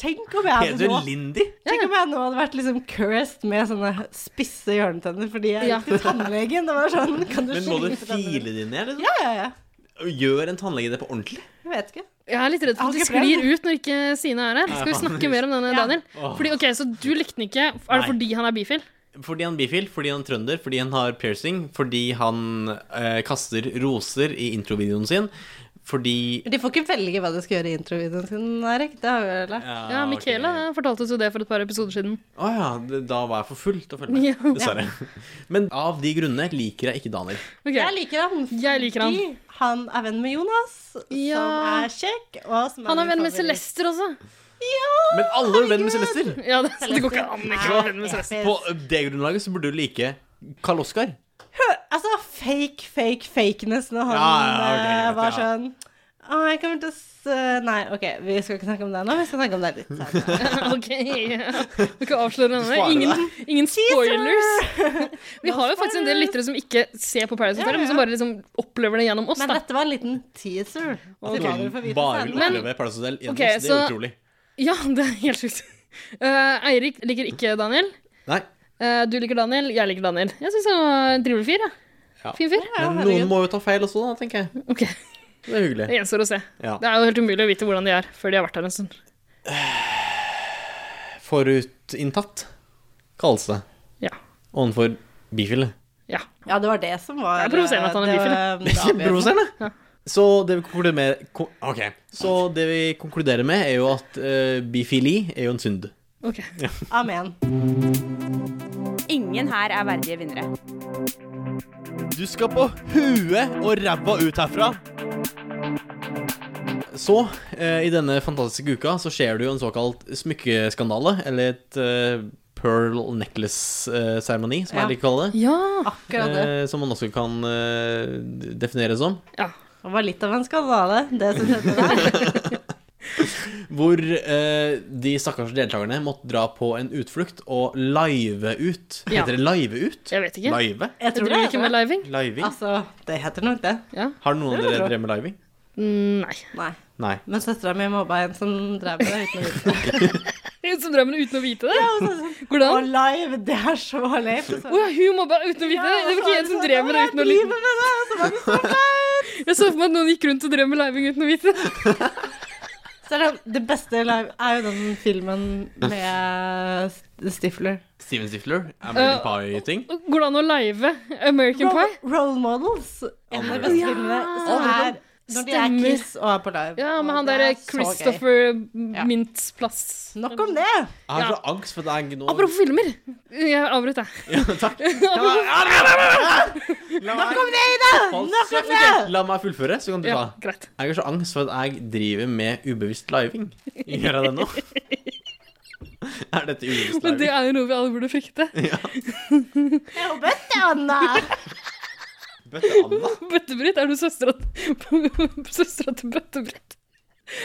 S1: tenk om jeg
S5: Heter
S1: hadde
S5: du
S1: nå
S5: Lindy?
S1: Tenk om jeg nå hadde vært liksom cursed med sånne spisse hjørnetenner fordi jeg
S4: Ja.
S1: gikk til tannlegen. Det var sånn, kan du
S5: Men må du
S1: slipe tennene?
S5: file dine ned?
S1: Ja, ja, ja.
S5: Liksom? Gjør en tannlege det på ordentlig?
S1: Jeg vet ikke.
S4: Jeg er litt redd for
S1: Har
S4: at de
S1: ikke prøvd.
S4: sklir ut når ikke Sine er her. Skal vi snakke mer om denne, Daniel? Fordi, ok, Så du likte den ikke. Er
S5: Nei.
S4: det fordi han er bifil?
S5: Fordi han er bifil, fordi han er trønder, fordi han har piercing, fordi han eh, kaster roser i introvideoen sin, fordi
S1: De får ikke velge hva de skal gjøre i introvideoen sin, Erik. Det har vi jo lært.
S4: Ja, Michaela
S5: Ah,
S4: eh,
S5: ok.
S4: fortalte oss jo det for et par episoder siden.
S5: Å ja, d- da var jeg for full til å følge med.
S4: Ja.
S5: Dessverre. Men av de grunnene liker jeg ikke Daniel.
S4: Ok.
S1: Jeg liker han.
S4: Jeg liker han.
S1: fordi Han er venn med Jonas,
S4: Ja.
S1: som er kjekk. Og som
S4: Han er
S1: min
S4: venn med
S1: favoritt.
S4: Celester også.
S5: Men alle er venn med Celester.
S4: Ja, det, det går ikke an ikke å være venn med Celester.
S5: På det grunnlaget så burde du like Karl Oskar.
S1: Altså fake, fake, fakeness når han
S5: Ja, ja, ok,
S1: eh,
S5: greit,
S1: var
S5: ja.
S1: sånn Å, jeg kommer til å s Nei, OK, vi skal ikke snakke om det nå. Vi skal snakke om det litt senere.
S4: Ok, ja. Du kan avsløre
S5: Du
S4: denne.
S5: sparer
S4: Ingen, ingen spoilers. Vi har jo faktisk en del lyttere som ikke ser på Paradise
S1: Ja, ja, ja.
S4: Hotel, men som bare liksom opplever det gjennom oss.
S1: Men
S4: da.
S1: dette var en liten teaser. Til hva dere får vite
S5: Bare vil
S1: senere.
S5: oppleve Paradise Hotel gjennom
S4: Ok,
S5: oss. Det er
S4: så-
S5: utrolig.
S4: Ja, det er helt sjukt. Eh, Eirik liker ikke Daniel.
S5: Nei.
S4: Eh, du liker Daniel, jeg liker Daniel. Jeg syns han var en trivelig fyr. Ja.
S5: Ja.
S4: Fin fyr.
S5: Men
S1: herregud.
S5: noen må jo ta feil også, da, tenker jeg.
S4: Ok,
S5: Det er hyggelig.
S4: Det gjenstår å se.
S5: Ja.
S4: Det er jo helt umulig å vite hvordan de er før de har vært her en stund.
S5: Forutinntatt kalles det.
S4: Ja.
S5: Ovenfor bifile.
S4: Ja.
S1: Ja, det var det som var eh,
S4: Det er provoserende at han er
S1: det var- det var avgjørende.
S5: Kjempeprovoserende! Så det vi konkluderer med ko- Ok. Så det vi konkluderer med, er jo at eh, bifili er jo en synd.
S4: Ok.
S1: Amen.
S2: Ingen her er verdige vinnere.
S5: Du skal på huet og ræva ut herfra. Så, eh, i denne fantastiske uka, så skjer det jo en såkalt smykkeskandale, eller et eh, pearl necklace-seremoni, som
S1: Ja.
S5: jeg liker å kalle det.
S4: Ja.
S1: Akkurat det.
S5: Eh, som man også kan eh, definere som.
S4: ja.
S1: Det var litt av en skandale, det som skjedde der.
S5: Hvor eh, de stakkars deltakerne måtte dra på en utflukt og live ut.
S4: Ja.
S5: Heter det live ut?
S4: Jeg vet ikke.
S5: Live?
S1: Jeg
S4: Jeg
S1: tror det.
S4: driver ikke med living.
S5: Living?
S1: Altså, det heter nok det.
S5: Har noen av
S1: det
S5: dere
S1: tror jeg.
S5: drevet med living?
S4: Nei.
S1: Nei.
S5: Nei.
S1: Men søstera mi mobba en som drev med det uten å vite det.
S4: Hun som drømmer uten å vite det. Går det
S1: Og
S4: an?
S1: live, det er så leit.
S4: Å ja, hun mobba uten å vite det. Det var
S1: altså,
S4: ikke en som drev med det uten å vite det. Jeg så for meg at noen gikk rundt og drev med living uten å vite det.
S1: Selv om det beste live er jo den filmen med eh, St- Stifler.
S5: Steven Stifler? American
S4: Eh,
S5: Pie-ting?
S4: Går det an å live American Pie?
S1: Role Models. En av de beste filmene som
S4: Ja.
S1: er Når de er
S4: Stemmer.
S1: Kiss og er på live.
S4: Ja, med
S1: Og
S4: han
S1: det
S4: derre
S1: er så gøy.
S4: Christopher
S3: Ja.
S4: Mintz Plass.
S1: Nok om det!
S5: Jeg har så angst for at det er nå
S4: Apropos filmer! Jeg avbrøt, jeg.
S5: Ja, takk. Kan jeg- La meg-
S1: Kom deg, da!
S5: Hold
S1: Nok om det!
S5: kjeft. La meg fullføre, så kan du
S4: Ja,
S5: ta.
S4: greit.
S5: Jeg har så angst for at jeg driver med ubevisst living. Gjør jeg det nå? Er dette ubevisst
S4: Men det
S5: living?
S4: er jo noe vi alle burde frykte.
S1: Jeg håper det, Anna.
S5: Bøtte Anna?
S4: Bøttebrett? Er du søstera søstera til Bøttebrett?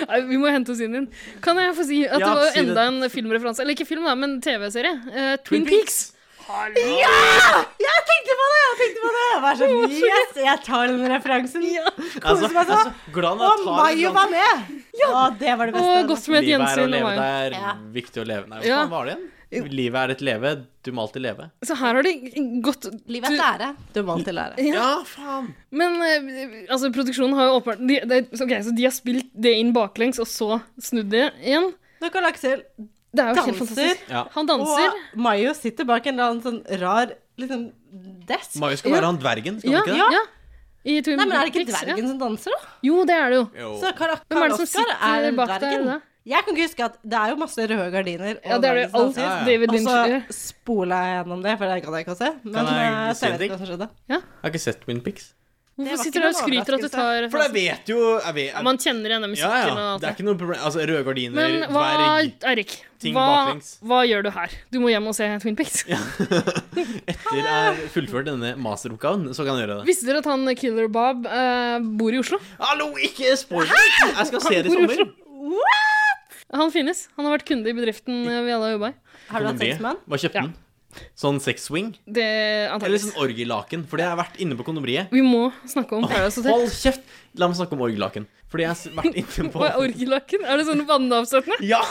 S4: Nei, vi må hente oss inn igjen. Kan jeg få si at
S5: Ja,
S4: det var
S5: si det.
S4: enda en filmreferanse? Eller ikke film, da, men TV-serie. Eh, Twin Peaks.
S1: Jeg tenkte på det! Jeg tenkte på det! Jeg var sånn, yes, jeg tar den referansen.
S5: Altså,
S1: meg så.
S5: altså, Glad at
S1: Og
S5: jeg tar sånn
S1: Mayo var med! Ja, det var det beste.
S4: Og godt med et
S5: Livet er å
S4: gjensyn.
S5: leve,
S4: med meg.
S5: det er viktig å leve. Nei, hva
S4: Ja.
S5: faen var det igjen? Livet er et leve, du må alltid leve.
S4: Så her har de gått
S1: Livet er lære. Du må alltid lære.
S5: Ja, faen!
S4: Men eh, altså, produksjonen har jo åpenbart de, de, så- ok, Så de har spilt det inn baklengs, og så snudd det igjen?
S1: Nok av Aksel.
S4: Det er jo helt
S1: Danser.
S4: fantastisk.
S5: Ja.
S4: Han danser.
S1: Og Mayo sitter bak en eller annen sånn rar liksom, desk.
S5: Mayo skal
S4: Ja.
S5: være han dvergen, skal
S4: Ja,
S5: han ikke det?
S4: ja. I Twin
S1: Nei, men er det ikke
S4: Peaks, ja.
S1: dvergen som danser, da?
S4: Jo, det er det jo.
S5: Jo.
S1: Så Karl
S4: Hvem er
S1: Karl
S4: det som
S1: Oskar er
S4: sitter bak der?
S1: dvergen.
S4: da?
S1: Jeg kan ikke huske at det er jo masse røde gardiner.
S4: Ja, det er det jo alt
S5: Ja, ja.
S4: David
S1: Og
S4: Lynch gjør.
S1: så spola jeg gjennom det, for det kan jeg ikke å se. Men
S5: Kan jeg
S1: eh,
S5: si
S1: så jeg
S5: en
S1: vet ikke
S5: ting?
S1: hva som skjedde.
S5: Jeg har ikke sett Twin Pics.
S1: Det var
S4: Hvorfor sitter
S1: ikke
S4: du og
S1: noen
S4: skryter at du tar
S5: For jeg vet jo jeg vet,
S4: Ja, Man kjenner igjen den
S5: Ja,
S4: musikken og
S5: ja.
S4: alt
S5: Det er
S4: det.
S5: ikke noe problem. Altså, røde gardiner,
S4: Men hva,
S5: dverg
S4: Eirik,
S5: ting
S4: hva,
S5: baklengs.
S4: hva gjør du her? Du må hjem og se Twin Peaks.
S5: Etter jeg har fullført denne masteroppgaven, så kan jeg gjøre det.
S4: Visste dere at han Killer Bob eh, bor i Oslo?
S5: Hallo, ikke spoil meg! Jeg skal se det i sommer.
S4: Han finnes. Han har vært kunde i bedriften eh, vi alle har jobba i.
S1: Har du hatt sex med han?
S5: Hva kjøpte
S4: Ja.
S5: den? Sånn sexswing?
S4: Det
S5: Eller
S4: antakeligvis.
S5: sånn orgielaken? Fordi jeg har vært inne på kondomeriet.
S4: Vi må snakke om Paradise
S1: Altså-
S4: Hotel.
S5: Hold kjeft! La meg snakke om orgielaken. Fordi jeg har vært inne
S4: Hva er
S5: på
S4: orgielakken? Er det sånn vannavstøtende?
S5: Ja!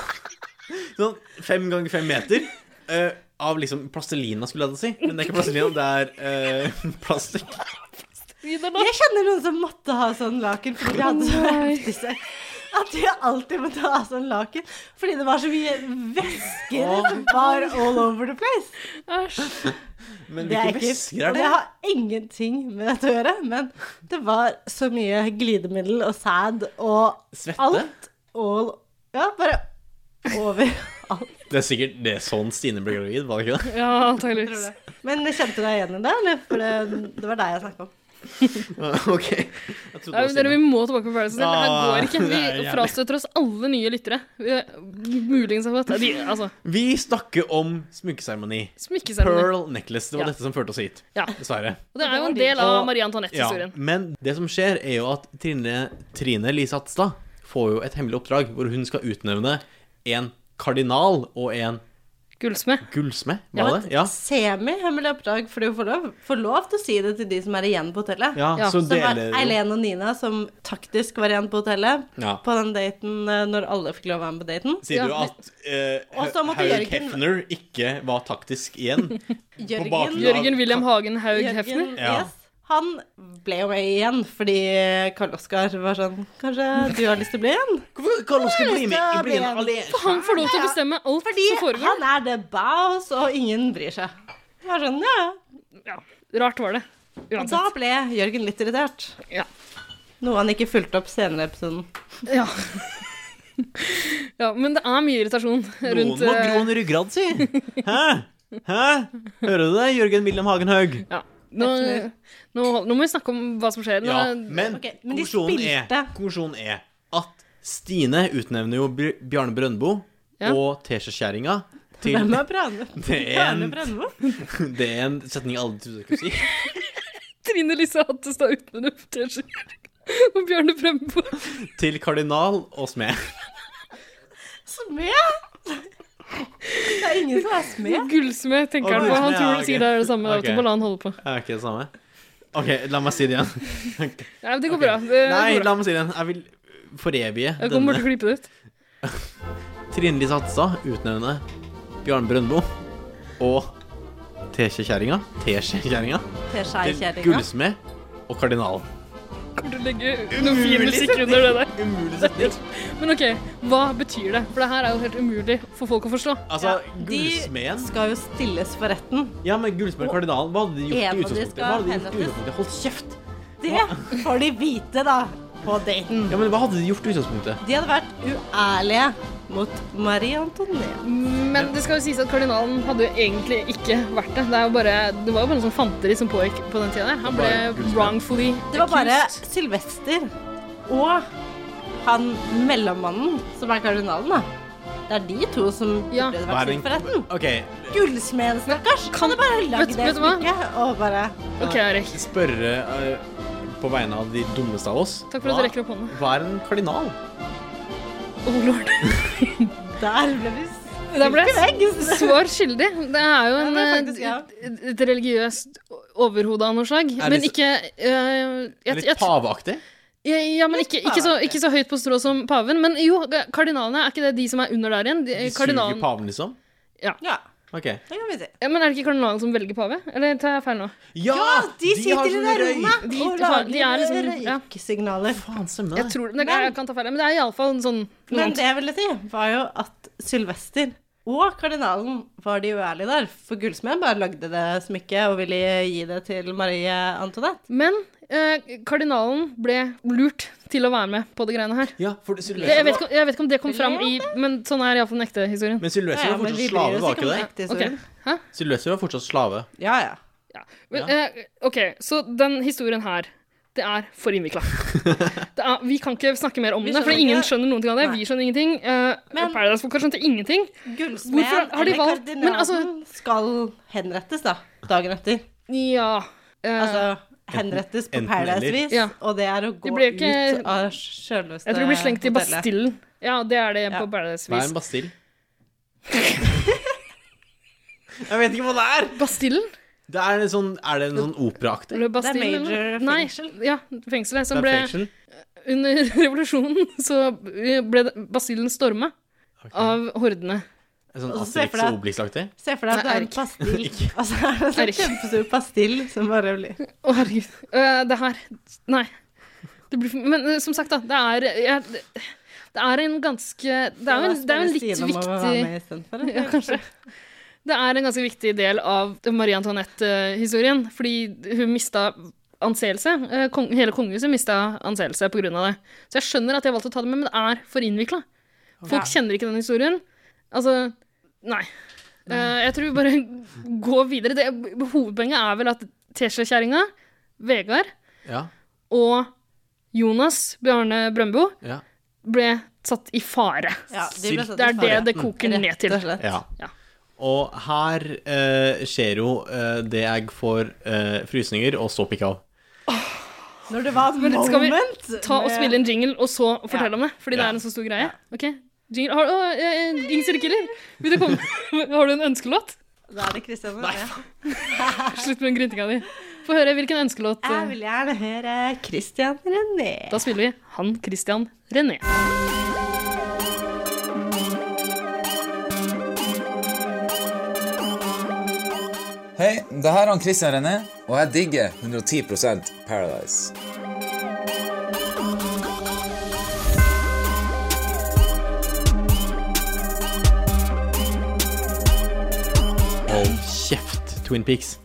S5: Sånn fem ganger fem meter. eh, av liksom plastelina, skulle jeg til å si. Men det er ikke plastelina, det er uh, plastikk.
S4: Gi deg nå.
S1: Jeg kjenner noen som måtte ha sånn laken fordi de hadde så
S4: Nei.
S1: heftig sex. At de alltid måtte ha sånn laken fordi det var så mye væsker som var all over the place.
S4: Æsj.
S5: Men
S1: Det er
S5: hvilke
S1: ikke
S5: væsker er
S1: Det
S5: det?
S1: har ingenting med dette å gjøre, men det var så mye glidemiddel og sæd og
S5: Svette?
S1: alt all Ja, bare over alt.
S5: Det er sikkert det er sånn Stine ble gravid, var det ikke det?
S4: Ja, antakeligvis.
S1: Men kjente du deg igjen i det, eller? For det, det var deg jeg snakka om.
S5: Ah, ok. Jeg trodde det
S4: Nei, men
S5: var
S4: dere,
S5: Stine.
S4: Vi må tilbake på Paradise Hotel. Det her
S5: Ah,
S4: går ikke.
S5: det er
S4: Vi
S5: jævlig.
S4: frastøter oss alle nye lyttere. Vi er Muligens har fått de, Altså,
S5: Vi snakker om smykkeseremoni.
S4: smykkeseremoni.
S5: Pearl necklace. Det var
S4: Ja.
S5: dette som førte oss hit.
S4: Ja.
S5: Dessverre.
S4: Og det er jo en del av
S5: Og-
S4: Marie
S5: Ja,
S4: Antoinette-historien.
S5: men det som skjer, er jo at Trine, Trine Lise Hatstad får jo et hemmelig oppdrag hvor hun skal utnevne en kardinal og en
S4: Gullsmed.
S5: gullsmed.
S1: Jeg
S5: Var
S1: har
S5: det?
S1: et
S5: Ja.
S1: semi-hemmelig oppdrag, for du får lov, får lov til å si det til de som er igjen på hotellet.
S5: Ja,
S4: Ja,
S5: så
S1: Som var
S5: deler jo
S1: Eileen og Nina som taktisk var igjen på hotellet
S5: Ja.
S1: på den daten eh, når alle fikk lov å være med på daten.
S5: Sier du
S4: Ja.
S5: at eh,
S1: Og så måtte
S5: Hugh
S1: Jørgen-
S5: Hefner ikke var taktisk igjen? bakgrunn av-
S4: Jørgen Wilhelm Hagen Haug Hefner.
S1: Jørgen,
S5: Ja.
S1: yes, han ble jo med igjen fordi Karl Oskar var sånn Kanskje du har lyst til å bli igjen?
S5: Hvorfor kan Oskar bli med?
S1: skal
S5: Bli
S1: bli
S5: med
S1: en-
S5: alene?
S4: Han får lov til å bestemme alt
S1: Fordi
S4: som foregår.
S1: han er the boss, og ingen bryr seg. Det var sånn, ja.
S4: Ja, rart var det.
S1: Og da
S4: Uansett.
S1: ble Jørgen litt irritert.
S4: Ja.
S1: Noe han ikke fulgte opp senere i episoden.
S4: Ja. ja, men det er mye irritasjon
S5: Noen
S4: rundt
S5: må
S4: eh,
S5: gro en ryggrad, si! Hæ? Hæ? Hører du det, Jørgen Wilhelm Hagen Haug?
S4: ja. nå, nå, nå må vi snakke om hva som skjer. Nå,
S5: Ja, men,
S1: Ok, men de
S5: konklusjonen, er,
S1: spilte.
S5: konklusjonen er at Stine utnevner jo Bj- Bjarne Brøndbo
S4: Ja.
S5: og Teskjekjerringa til
S1: Hvem er Brandmo?
S5: det er,
S1: Bjarne
S5: en,
S1: Brandmo?
S5: det er en setning jeg aldri trodde jeg skulle si.
S4: Trine Lise Hattestad uten en T-skjorte. Og Bjarne Brøndbo.
S5: Til kardinal og smed.
S1: Smed? Det er ingen som er smed.
S4: Gullsmed, tenker han på.
S5: Gullsmed,
S4: Han tror
S5: ja,
S4: du
S5: ok.
S4: sier det er det samme.
S5: Ok.
S4: Okay. Bare la han holde på.
S5: Er ikke det samme? OK, la meg si det igjen.
S4: Nei, men det går bra. Det
S5: Nei,
S4: går bra.
S5: la meg si det igjen. Jeg vil forevige
S4: Jeg kommer
S5: denne.
S4: til å klippe det ut.
S5: Trine Lise Hatstad utnevner Bjarne Brøndbo og Teskjekjerringa Teskjekjerringa til
S1: Teskjekjerringa.
S5: gullsmed og kardinal.
S4: Kommer til å legge noen fin musikk under det der.
S5: Umulig setning.
S4: Men OK, hva betyr det? For det her er jo helt umulig for folk å forstå.
S5: Altså,
S1: De
S5: gullsmeden
S1: skal jo stilles for retten.
S5: Ja, men Gullsmed og Kardinalen, hva hadde de gjort i
S1: En av de
S5: utgangspunktet?
S1: skal
S5: Hva hadde de gjort i
S1: henrettes.
S5: utgangspunktet? Hold kjeft!
S1: Det får de vite, da. på daten.
S5: Ja, men Hva hadde de gjort i utgangspunktet?
S1: De hadde vært uærlige mot Marie Antoinette.
S4: Men det skal jo sies at kardinalen hadde jo egentlig ikke vært det. Det, er jo bare, det var jo bare noe sånn fanteri som pågikk på den tida der. Han ble
S5: Bare gullsmed.
S4: wrongfully
S1: Det var bare
S4: accused.
S1: Sylvester og han mellommannen, som er kardinalen, da. Det er de to som
S4: Ja.
S1: burde vært stilt for retten.
S5: Ok,
S1: Gullsmeden, stakkars. Kan du bare
S4: Vet-
S1: lage det
S4: vet du hva?
S1: smykket og bare
S4: OK, Erik.
S5: spørre eh, på vegne av de dummeste av oss.
S4: Takk for at du rekker opp hånda.
S5: Hva er en kardinal?
S4: Oh, lord.
S1: Der ble vi
S4: Der ble jeg
S1: Ikke vegg.
S4: svar skyldig. Det er jo
S1: Ja,
S4: en,
S1: det er faktisk, ja.
S4: et, et religiøst overhode av noe slag.
S5: Er
S4: Men
S5: det så-
S4: ikke eh, jeg-
S5: Litt
S4: jeg- eh,
S5: paveaktig?
S4: Ja, ja men ikke, ikke, så, ikke så høyt på strå som paven. Men jo, det- kardinalene, er ikke det de som er under der igjen? De,
S5: De suger
S4: kardinalen-
S5: paven, liksom?
S1: Ja,
S5: Ok.
S1: det kan vi si.
S4: ja, men er det ikke kardinalen som velger pave? Eller tar jeg feil nå?
S5: Ja!
S1: De
S5: har
S1: sitter i
S5: sånn
S1: det
S5: røy-
S1: rommet
S4: De-
S1: og
S4: de er
S1: lager
S4: liksom- ja.
S1: røykesignaler.
S5: Faen, stemmer
S4: Jeg
S5: det.
S4: tror, det, jeg kan ta feil, men det er iallfall en sånn
S1: Men det jeg ville si, var jo at Sylvester og kardinalen var de uærlige der. For gullsmeden bare lagde det smykket og ville gi det til Marie Antoinette.
S4: Men eh, kardinalen ble lurt til å være med på det greiene her.
S5: Ja, for
S4: Det, jeg, vet
S5: Sylvester
S4: ikke, jeg vet ikke om det kom fram i Men sånn er iallfall den ekte historien.
S5: Men Sylvester var
S1: men vi bryr
S5: fortsatt slave,
S1: oss
S5: var
S1: ikke
S5: ikke
S1: om
S5: det?
S1: den ekte
S4: Ok,
S1: historien.
S4: Hæ?
S5: Sylvester var fortsatt slave.
S1: Ja, ja.
S4: Ja. Men, eh, OK, så den historien her det er for innvikla. Vi kan ikke snakke mer om
S1: Vi
S4: det, for
S1: skjønner
S4: ingen
S1: ikke.
S4: skjønner noen ting av det.
S1: Nei.
S4: Vi skjønner ingenting. eh,
S1: Men-
S4: Paradise-folka skjønte ingenting.
S1: Gullsmeden
S4: har de
S1: eller
S4: valgt-
S1: kardinalen
S4: men altså-
S1: skal henrettes, da. Dagen etter.
S4: Ja. eh,
S1: Altså henrettes på
S5: enten eller.
S1: Paradise-vis,
S4: Ja.
S1: og det er å gå
S4: blir jo ikke-
S1: ut av sjølveste
S4: jeg tror det blir slengt i
S1: eh, hotellet.
S4: Bastillen. Ja, det er det
S1: Ja.
S5: Hva er
S4: på
S5: en
S4: Paradise-vis.
S5: bastill? Jeg vet ikke hva det er!
S4: Bastillen?
S5: Det er, en sånn, er det en sånn operaaktig?
S4: Eller Bastillen?
S1: major
S4: eller noe? Nei,
S1: fengsel.
S4: Ja, fengselet
S5: Det
S4: som
S5: er
S4: ble
S5: fiction.
S4: Under revolusjonen så ble det- basillen storma av hordene.
S5: En sånn
S1: Og så ser jeg for
S5: Asterix
S1: deg-
S5: og Obelix-aktig?
S1: Se for deg at det
S4: Nei,
S1: er en
S4: Erik.
S1: pastill. Og så er det en sånn
S4: Erik.
S1: kjempestor pastill som bare blir
S4: Å, herregud. Eh, det her Nei. Det blir for, men eh, som sagt, da. Det er jeg, Det er en ganske Det er jo en, det er jo en litt viktig
S1: viktig
S4: Ja, kanskje. Det er en ganske viktig del av Marie Antoinette-historien, fordi hun mista anseelse. Eh, Kong, hele kongehuset mista anseelse pga. det. Så jeg skjønner at jeg valgte å ta det med, men det er for innvikla. Folk kjenner ikke den historien. Altså Nei. Eh, jeg tror vi bare går videre. Det, hovedpoenget er vel at Tesje-kjerringa, Vegard
S5: Ja.
S4: og Jonas Bjarne Brøndbo
S5: Ja.
S4: ble satt i fare.
S1: Ja, de ble satt
S4: Det
S1: i
S4: er det
S1: fare.
S4: det koker ned til.
S1: Rett og slett.
S5: ja.
S4: Ja.
S5: Og her eh, skjer jo eh, det jeg får eh, frysninger og ståpikk av.
S1: Når det var
S4: Men skal vi
S1: moment
S4: Ta og spille en jingle, og så fortell om det. Fordi det
S5: Ja.
S4: er en så stor greie. Ok, jingle Har, å, eh, eh, Ings eller Killer, vil du komme? har du en ønskelåt?
S1: Da er det Kristian og jeg.
S4: Slutt med den gryntinga di. Få høre hvilken ønskelåt.
S1: Jeg
S4: eh,
S1: vil gjerne høre Christian René.
S4: Da spiller vi Han Christian René.
S9: Hei, det her er han Christian René, og jeg digger 110 Paradise.
S5: Hold kjeft, Twin Peaks.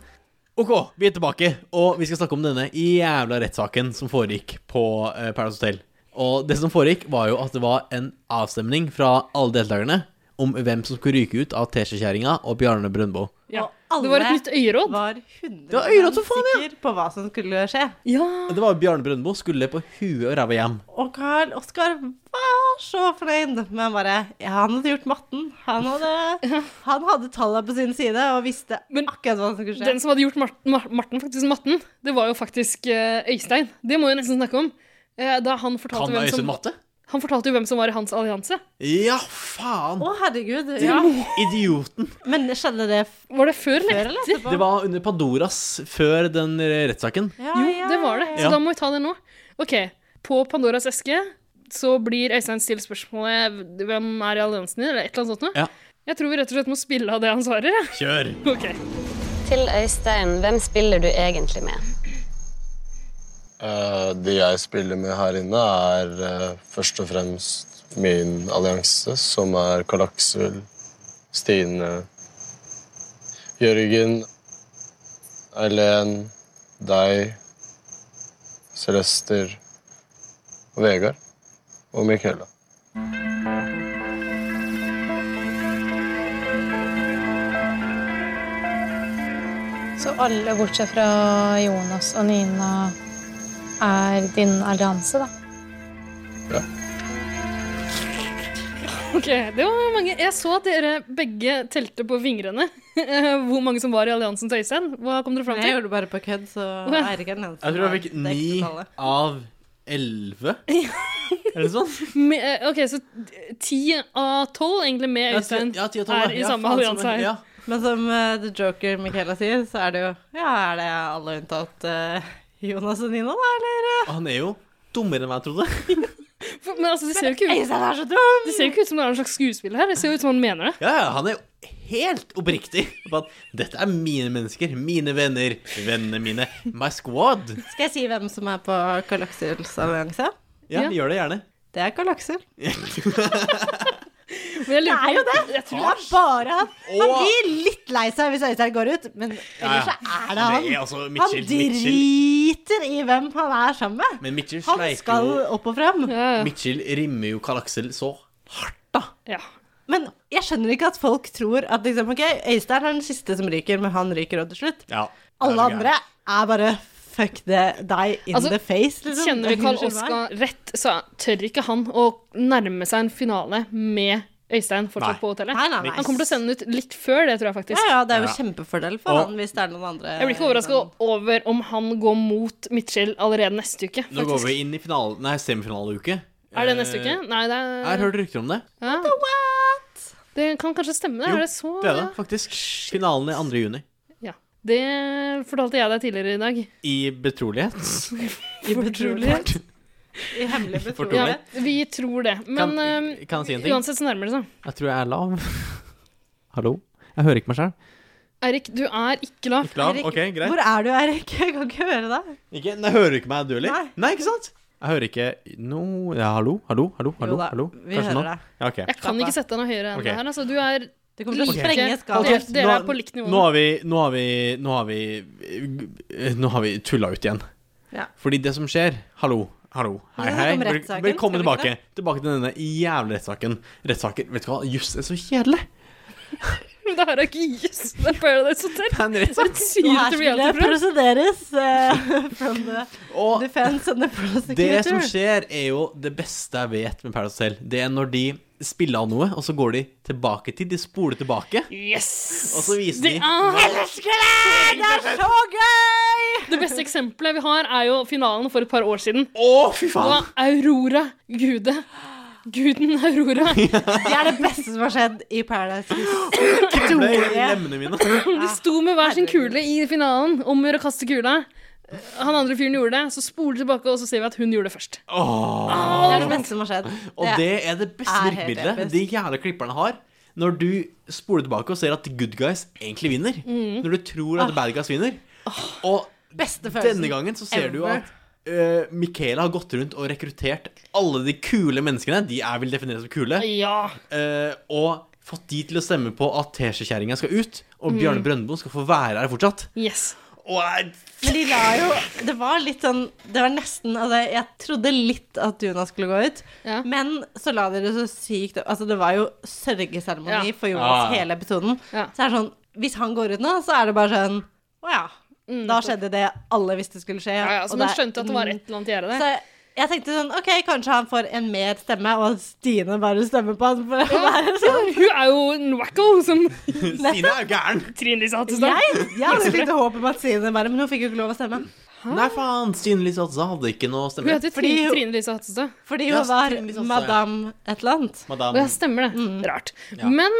S5: Ok, vi er tilbake, og vi skal snakke om denne jævla rettssaken som foregikk på eh, Paradise Hotel. Og det som foregikk, var jo at det var en avstemning fra alle deltakerne om hvem som skulle ryke ut av Tesjekjerringa og Bjarne Brøndbo.
S4: Ja.
S1: Og alle
S4: Det var et nytt øyeråd.
S1: var
S5: Det var øyeråd
S1: 100
S5: som faen, ja.
S1: sikker på hva som skulle skje.
S4: Ja.
S1: Ah.
S5: Og Det var jo Bjarne Brøndbo skulle på huet og ræva hjem.
S1: Og Carl Oskar var så fornøyd. Men han bare ja, Han hadde gjort matten. Han hadde, han hadde tallene på sin side og visste
S4: Men
S1: akkurat hva som skulle skje.
S4: Den som hadde gjort Marten, Mar- Marten faktisk matten, det var jo faktisk eh, Øystein. Det må vi nesten snakke om. Eh, Da han fortalte,
S5: Kan
S4: hvem
S5: Øystein
S4: som,
S5: matte?
S4: han fortalte jo hvem som var i hans allianse.
S5: Ja, faen!
S1: Å, herregud. Ja.
S5: Idioten.
S1: Men skjedde det f-
S4: Var det før eller
S1: før eller
S4: etter?
S1: etterpå?
S5: Det var under Pandoras før den eh, rettssaken.
S1: Ja,
S4: Jo,
S1: ja,
S4: det var det. Så
S5: Ja.
S4: da må vi ta det nå. Ok, På Pandoras eske så blir Øystein stilt spørsmålet hvem er i alliansen din, eller et eller annet sånt noe.
S5: Ja.
S4: Jeg tror vi rett og slett må spille av det han svarer. Ja.
S5: Kjør!
S4: Ok.
S10: Til Øystein, hvem spiller du egentlig med?
S11: Eh, De jeg spiller med her inne, er eh, først og fremst min allianse, som er Karl Aksel, Stine, Jørgen, Eileen, deg, Celester og Vegard og Michaela.
S12: Så alle bortsett fra Jonas og Nina er din allianse, da?
S4: Ok, det var mange. Jeg så at dere begge telte på fingrene. Hvor mange som var i Alliansens øystein. Hva kom dere fram til?
S1: Jeg gjorde det bare på kødd, så Eirik er den eneste.
S5: Jeg tror jeg fikk
S1: som har det
S5: ni
S1: ekte tallet.
S5: av elleve. Er det sånn?
S4: Med, eh, ok, så ti av tolv egentlig med
S1: Ja, ti-
S4: Øystein
S1: ja, ti av tolv,
S4: er
S1: ja.
S4: i
S1: Ja,
S4: samme
S1: faen,
S4: allianse
S1: samme-
S4: her.
S1: ja. Men som eh, The Joker Michaela sier, så er det jo Ja, er det alle unntatt eh, Jonas og Nina, da, eller?
S5: Og Han er jo dummere enn meg, trodde jeg.
S4: For- Men altså, det ser jo ikke ut
S1: Øystein er så
S4: Det ser jo ikke ut som det er en slags skuespill her. Det ser jo ut som han mener det.
S5: Ja, ja, han er jo helt oppriktig på at dette er mine mennesker, mine venner, vennene mine, my squad.
S1: Skal jeg si hvem som er på Kalaksuls allianse?
S5: Ja, gjør det gjerne.
S1: Det er Kalaksul.
S4: det
S1: er jo det!
S4: Jeg
S1: tror det er bare han. Han
S5: Åh.
S1: blir litt lei seg hvis Øystein går ut, men ellers så er det han.
S5: Det er altså
S1: Han
S5: Mitchell, Mitchell.
S1: driter i hvem han er sammen med.
S5: Men Mitchell
S1: Han
S5: sleik
S1: skal
S5: jo
S1: opp og frem.
S5: Mitchell rimmer jo Karl Aksel så
S1: Men jeg skjønner ikke at folk tror at liksom, ok, Øystein er den siste som ryker, men han ryker også til slutt.
S5: Ja.
S1: Alle andre er bare fuck det, deg in
S4: Altså,
S1: the face. Liksom.
S4: Kjenner vi Karl Oskar rett, så tør ikke han å nærme seg en finale med Øystein fortsatt
S1: Nei.
S4: på hotellet.
S1: Nei, nei, nei.
S4: Han kommer til å sende den ut litt før det, tror jeg faktisk.
S1: Ja, ja, det er jo
S4: Ja.
S1: kjempefordel for
S4: Og-
S1: han hvis det er noen andre.
S4: Jeg blir ikke overraska over om han går mot Mitchell allerede neste uke.
S5: Nå går
S4: faktisk.
S5: vi inn i finalen, nei, semifinaleuke. Eh,
S4: Er det neste uke? Nei, det
S5: Jeg
S4: er
S5: har hørt rykter om det.
S4: ja. Det kan kanskje stemme, det.
S5: Jo,
S4: er det så
S5: Det er det, faktisk. Finalen er 2. juni.
S4: Ja. Det fortalte jeg deg tidligere i dag.
S5: I betrolighet.
S4: I betrolighet.
S1: I hemmelig
S5: betrolighet.
S4: Ja, vi tror det. Men
S5: Kan-
S4: eh,
S5: kan jeg si en ting?
S4: uansett så nærmer det seg.
S5: Jeg tror jeg er lav. Hallo? Jeg hører ikke meg sjøl.
S4: Eirik, du er ikke lav.
S5: Ikke lav? Eirik, Ok, greit. hvor
S1: er du, Eirik? Jeg kan ikke høre deg.
S5: Ikke? Nei, hører du ikke meg, du heller?
S1: Nei.
S5: ikke sant? Jeg hører ikke no... Ja, hallo? Hallo? Hallo? hallo,
S1: da,
S5: hallo?
S1: vi hører deg.
S5: Ja, ok.
S4: Jeg kan ikke sette deg noe høyere enn
S5: Ok.
S4: det her. Altså, du er
S1: kommer til å
S4: like-
S1: sprenge skalaen.
S4: Dere,
S1: Hold kjeft.
S4: dere
S1: Nå-
S4: er på likt nivå.
S5: Nå har vi Nå har vi Nå har vi, nå har vi tulla ut igjen.
S1: Ja.
S5: Fordi det som skjer Hallo, hallo, hei,
S1: Vi skal
S5: hei.
S1: snakke om
S5: Vel-
S1: rettssaken,
S5: Velkommen
S1: skal vi
S5: tilbake. Tilbake til denne jævla rettssaken. Rettssaker Vet du hva, juss er så kjedelig.
S4: Men det her er ikke jøss. Det er Paradise Hotel. Det
S5: er
S4: et syrete reality-program.
S1: prosederes eh, from the defense and the
S5: Det
S1: prosecutor.
S5: som skjer, er jo det beste jeg vet med Paradise Hotel. Det er når de spiller av noe, og så går de tilbake til De spoler tilbake.
S4: Yes!
S5: Og så viser
S4: Det
S5: de
S4: er-
S5: hva-
S1: Det er så gøy!
S4: Det beste eksempelet vi har, er jo finalen for et par år siden.
S5: Å, fy faen!
S4: Da Aurora Gude. Guden Aurora.
S1: Det er det beste som har skjedd i Paradise
S5: Ble i
S1: historie.
S5: lemmene mine.
S4: De sto med hver sin kule i finalen om å kaste kula. Han andre fyren gjorde det, så spoler vi tilbake, og så ser vi at hun gjorde det først.
S5: Åh.
S1: Det er det beste som har skjedd.
S5: Og det er det beste
S1: er helt
S5: virkemidlet
S1: episk.
S5: de jævla klipperne har. Når du spoler tilbake og ser at the good guys egentlig vinner.
S1: Mm.
S5: Når du tror at the bad guys vinner. Og
S1: Beste følelsen
S5: denne gangen så ser du jo
S1: ever.
S5: at eh, Michaela har gått rundt og rekruttert alle de kule menneskene. De er vel definert som kule.
S4: Ja.
S5: Eh, og fått de til å stemme på at teskjekjerringa skal ut, og
S1: Mm.
S5: Bjarne Brøndbo skal få være her fortsatt.
S4: Yes.
S1: Men de la jo Det var litt sånn Det var nesten Altså, jeg trodde litt at Jonas skulle gå ut, men så la de det så sykt Altså, det var jo sørgeseremoni
S4: Ja.
S1: for Jonas
S5: Ah.
S4: Ja.
S1: hele episoden. Så er det sånn Hvis han går ut nå, så er det bare sånn Å ja. Da skjedde det alle visste skulle skje.
S4: Mm, Ja, ja, så
S1: og
S4: man
S1: det er-
S4: skjønte at det var et eller annet gjerde
S1: Så
S4: der.
S1: jeg tenkte sånn OK, kanskje han får en mer stemme, og at Stine bare stemmer på han. For å være sånn.
S4: Hun er jo en wacko som
S5: Stine er jo gæren.
S4: Trine Lise Hattestad.
S1: Jeg, jeg hadde litt håp om at Stine bare Men hun fikk jo ikke lov å stemme.
S5: Nei, faen! Stine Lise Hatsa hadde ikke noe
S4: Hun
S5: stemme.
S4: heter Trine,
S1: Fordi hun-
S4: Trine Lise Hattestad.
S1: Fordi
S5: Ja,
S1: hun var
S5: Trine Lise Hattestad, ja.
S1: madame et eller annet.
S5: Madame.
S4: Ja, stemmer det. Rart.
S5: Ja.
S4: Men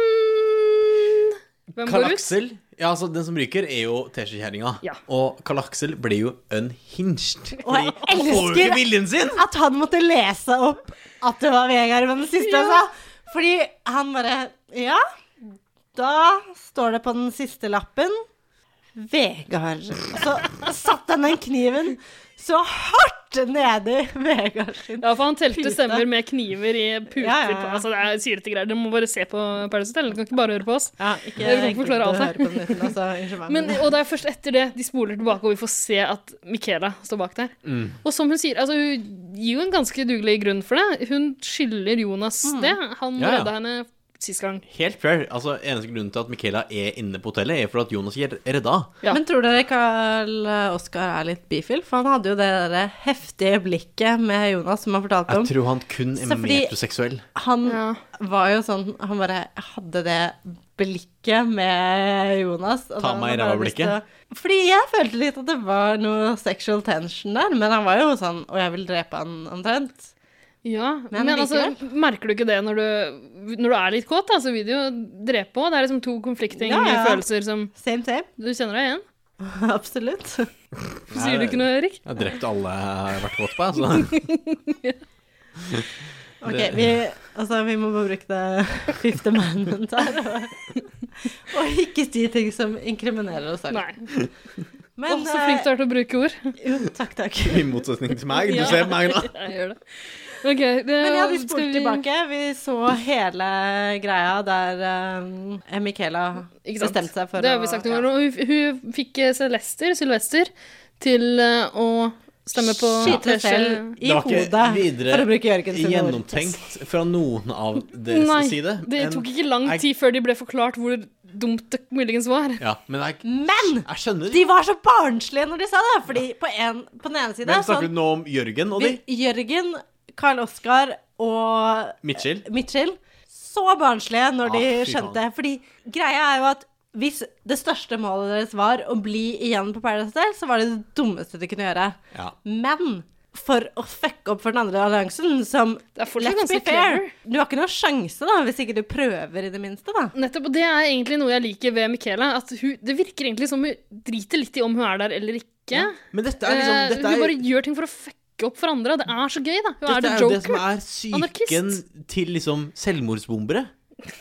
S4: Hvem
S5: Karl
S4: går ut?
S5: Aksel, ja, altså den som ryker, er jo teskjekjerringa.
S4: Ja.
S5: Og Karl Aksel blir jo unhinged.
S1: Og jeg
S5: Fordi han får jo ikke viljen sin!
S1: elsker at han måtte lese opp at det var Vegard med den siste.
S4: Ja.
S1: sa. Fordi han bare Ja, da står det på den siste lappen Vegard. Og så satte han den kniven så hardt hardt nedi Vegard sin
S4: Ja, for han telte
S1: pute.
S4: stemmer med kniver i puter
S1: Ja, ja, ja.
S4: på. Altså, det er syrete greier. Dere må bare se på Paradise Hotel. Dere kan ikke bare høre på oss.
S1: Ikke,
S4: Dere kan ikke
S1: gidder å
S4: forklare alt
S1: høre på
S4: her.
S1: den uten, altså, unnskyld meg,
S4: Men,
S1: men-
S4: og det er først etter det de spoler tilbake, og vi får se at Michaela står bak der.
S1: Mm.
S4: Og som hun sier, altså, hun gir jo en ganske dugelig grunn for det. Hun skylder Jonas
S1: Mm.
S4: det. Han
S5: Ja, ja.
S4: redda henne sist gang.
S5: Helt fair. Altså, Eneste grunnen til at Michaela er inne på hotellet, er for at Jonas ikke er redda.
S1: Men tror dere Carl Oskar er litt bifil? For han hadde jo det der heftige blikket med Jonas som han fortalte om.
S5: Jeg tror han kun er
S1: Så fordi-
S5: metroseksuell.
S1: Han var jo sånn Han bare hadde det blikket med Jonas. og
S5: Ta
S1: da
S5: meg i
S1: hadde han
S5: ræva
S1: lyst til å- Fordi jeg følte litt at det var noe sexual tension der, men han var jo sånn Og jeg vil drepe han, omtrent.
S4: Ja,
S1: Men
S4: men,
S1: likevel.
S4: altså, merker du ikke det når du, når du er litt kåt, da, så vil du jo drepe òg. Det er liksom to conflicting
S1: Ja, ja.
S4: følelser som
S1: Same, same.
S4: Du kjenner deg igjen?
S1: Absolutt.
S4: Sier du ikke noe, Erik?
S5: Jeg har drept alle jeg har vært våt på, altså.
S1: Ok,
S5: Det-
S1: vi, altså, vi må bare bruke det fifth amendment her. Og, og ikke si ting som inkriminerer oss selv.
S4: Nei.
S1: Men, eh,
S4: Åh, så flink du er til å bruke ord.
S1: Jo, takk, takk.
S5: I motsetning til meg. Du ser på meg nå.
S4: Jeg gjør det. Ok, det,
S1: Men ja, de
S4: skal
S1: spolte
S4: vi-
S1: tilbake. Vi så hele greia der eh, Michaela
S4: Ikke sant?
S1: bestemte seg for
S4: det har vi sagt noen ganger. Og Hun, hun fikk eh, Celester, Sylvester, til eh, å stemme på
S1: Skyte
S4: Tesje-
S1: selv i
S5: Det var ikke
S1: hodet,
S5: videre
S1: for å bruke Jørgens ord.
S5: gjennomtenkt fra noen av deres
S4: Nei,
S5: side.
S4: det
S5: En-
S4: tok ikke lang tid før de ble forklart hvor dumt det muligens var.
S5: Ja, men jeg,
S1: Men
S5: jeg skjønner.
S1: de var så barnslige når de sa det, fordi på, en, på den ene siden
S5: Hvem
S1: sånn-
S5: snakker du nå om? Jørgen og de?
S1: Vi- Jørgen, Karl Oskar og
S5: Mitchell?
S1: Mitchell så barnslige når de
S5: Ah, fy faen.
S1: skjønte. Fordi greia er jo at hvis det største målet deres var å bli igjen på Paradise Hotel, så var det det dummeste de kunne gjøre.
S5: Ja.
S1: Men for å fucke opp for den andre alliansen, som
S4: fortsatt
S1: Let's be
S4: ganske
S1: fair!
S4: clever.
S1: Du har ikke noen sjanse, da, hvis ikke du prøver, i det minste, da.
S4: Nettopp, og Det er egentlig noe jeg liker ved Michaela. At hun, det virker egentlig som hun driter litt i om hun er der eller ikke.
S5: Men dette er liksom-
S4: Eh,
S5: dette
S4: Hun
S5: er-
S4: bare gjør ting for å fucke opp for andre, og det er så gøy, da. Hun
S5: Dette
S4: er the
S5: er jo det som
S4: joker.
S5: er psyken til liksom selvmordsbombere.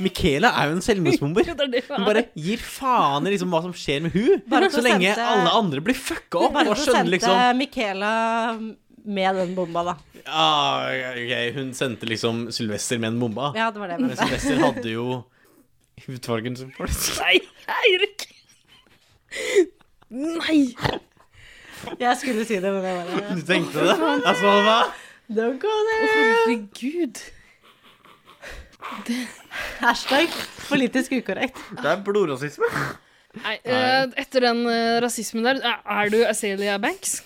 S5: Michaela er jo en selvmordsbomber.
S4: Jo, det er det hun
S5: Hun
S4: er.
S5: bare gir faen i liksom hva som skjer med hun
S1: Bare
S5: så lenge
S1: prosente-
S5: alle andre blir fucka opp.
S1: Bare
S5: Og
S1: for å
S5: skjønner
S1: sende
S5: liksom
S1: Michaela med den bomba, da.
S5: ah, ok, Hun sendte liksom Sylvester med en bomba.
S1: Ja, det var det jeg
S5: Men
S1: mente.
S5: Sylvester hadde jo hudfargen som folk.
S4: Nei, Eirik! Nei!
S1: Jeg skulle si det, men det var det.
S5: Du tenkte det? Altså, hva?
S1: Don't go
S4: Å,
S1: there!
S4: herregud.
S1: Hashtag politisk ukorrekt.
S5: Det er blodrasisme.
S4: Nei, eh, etter den eh, rasismen der, er- er du Acelia Banks?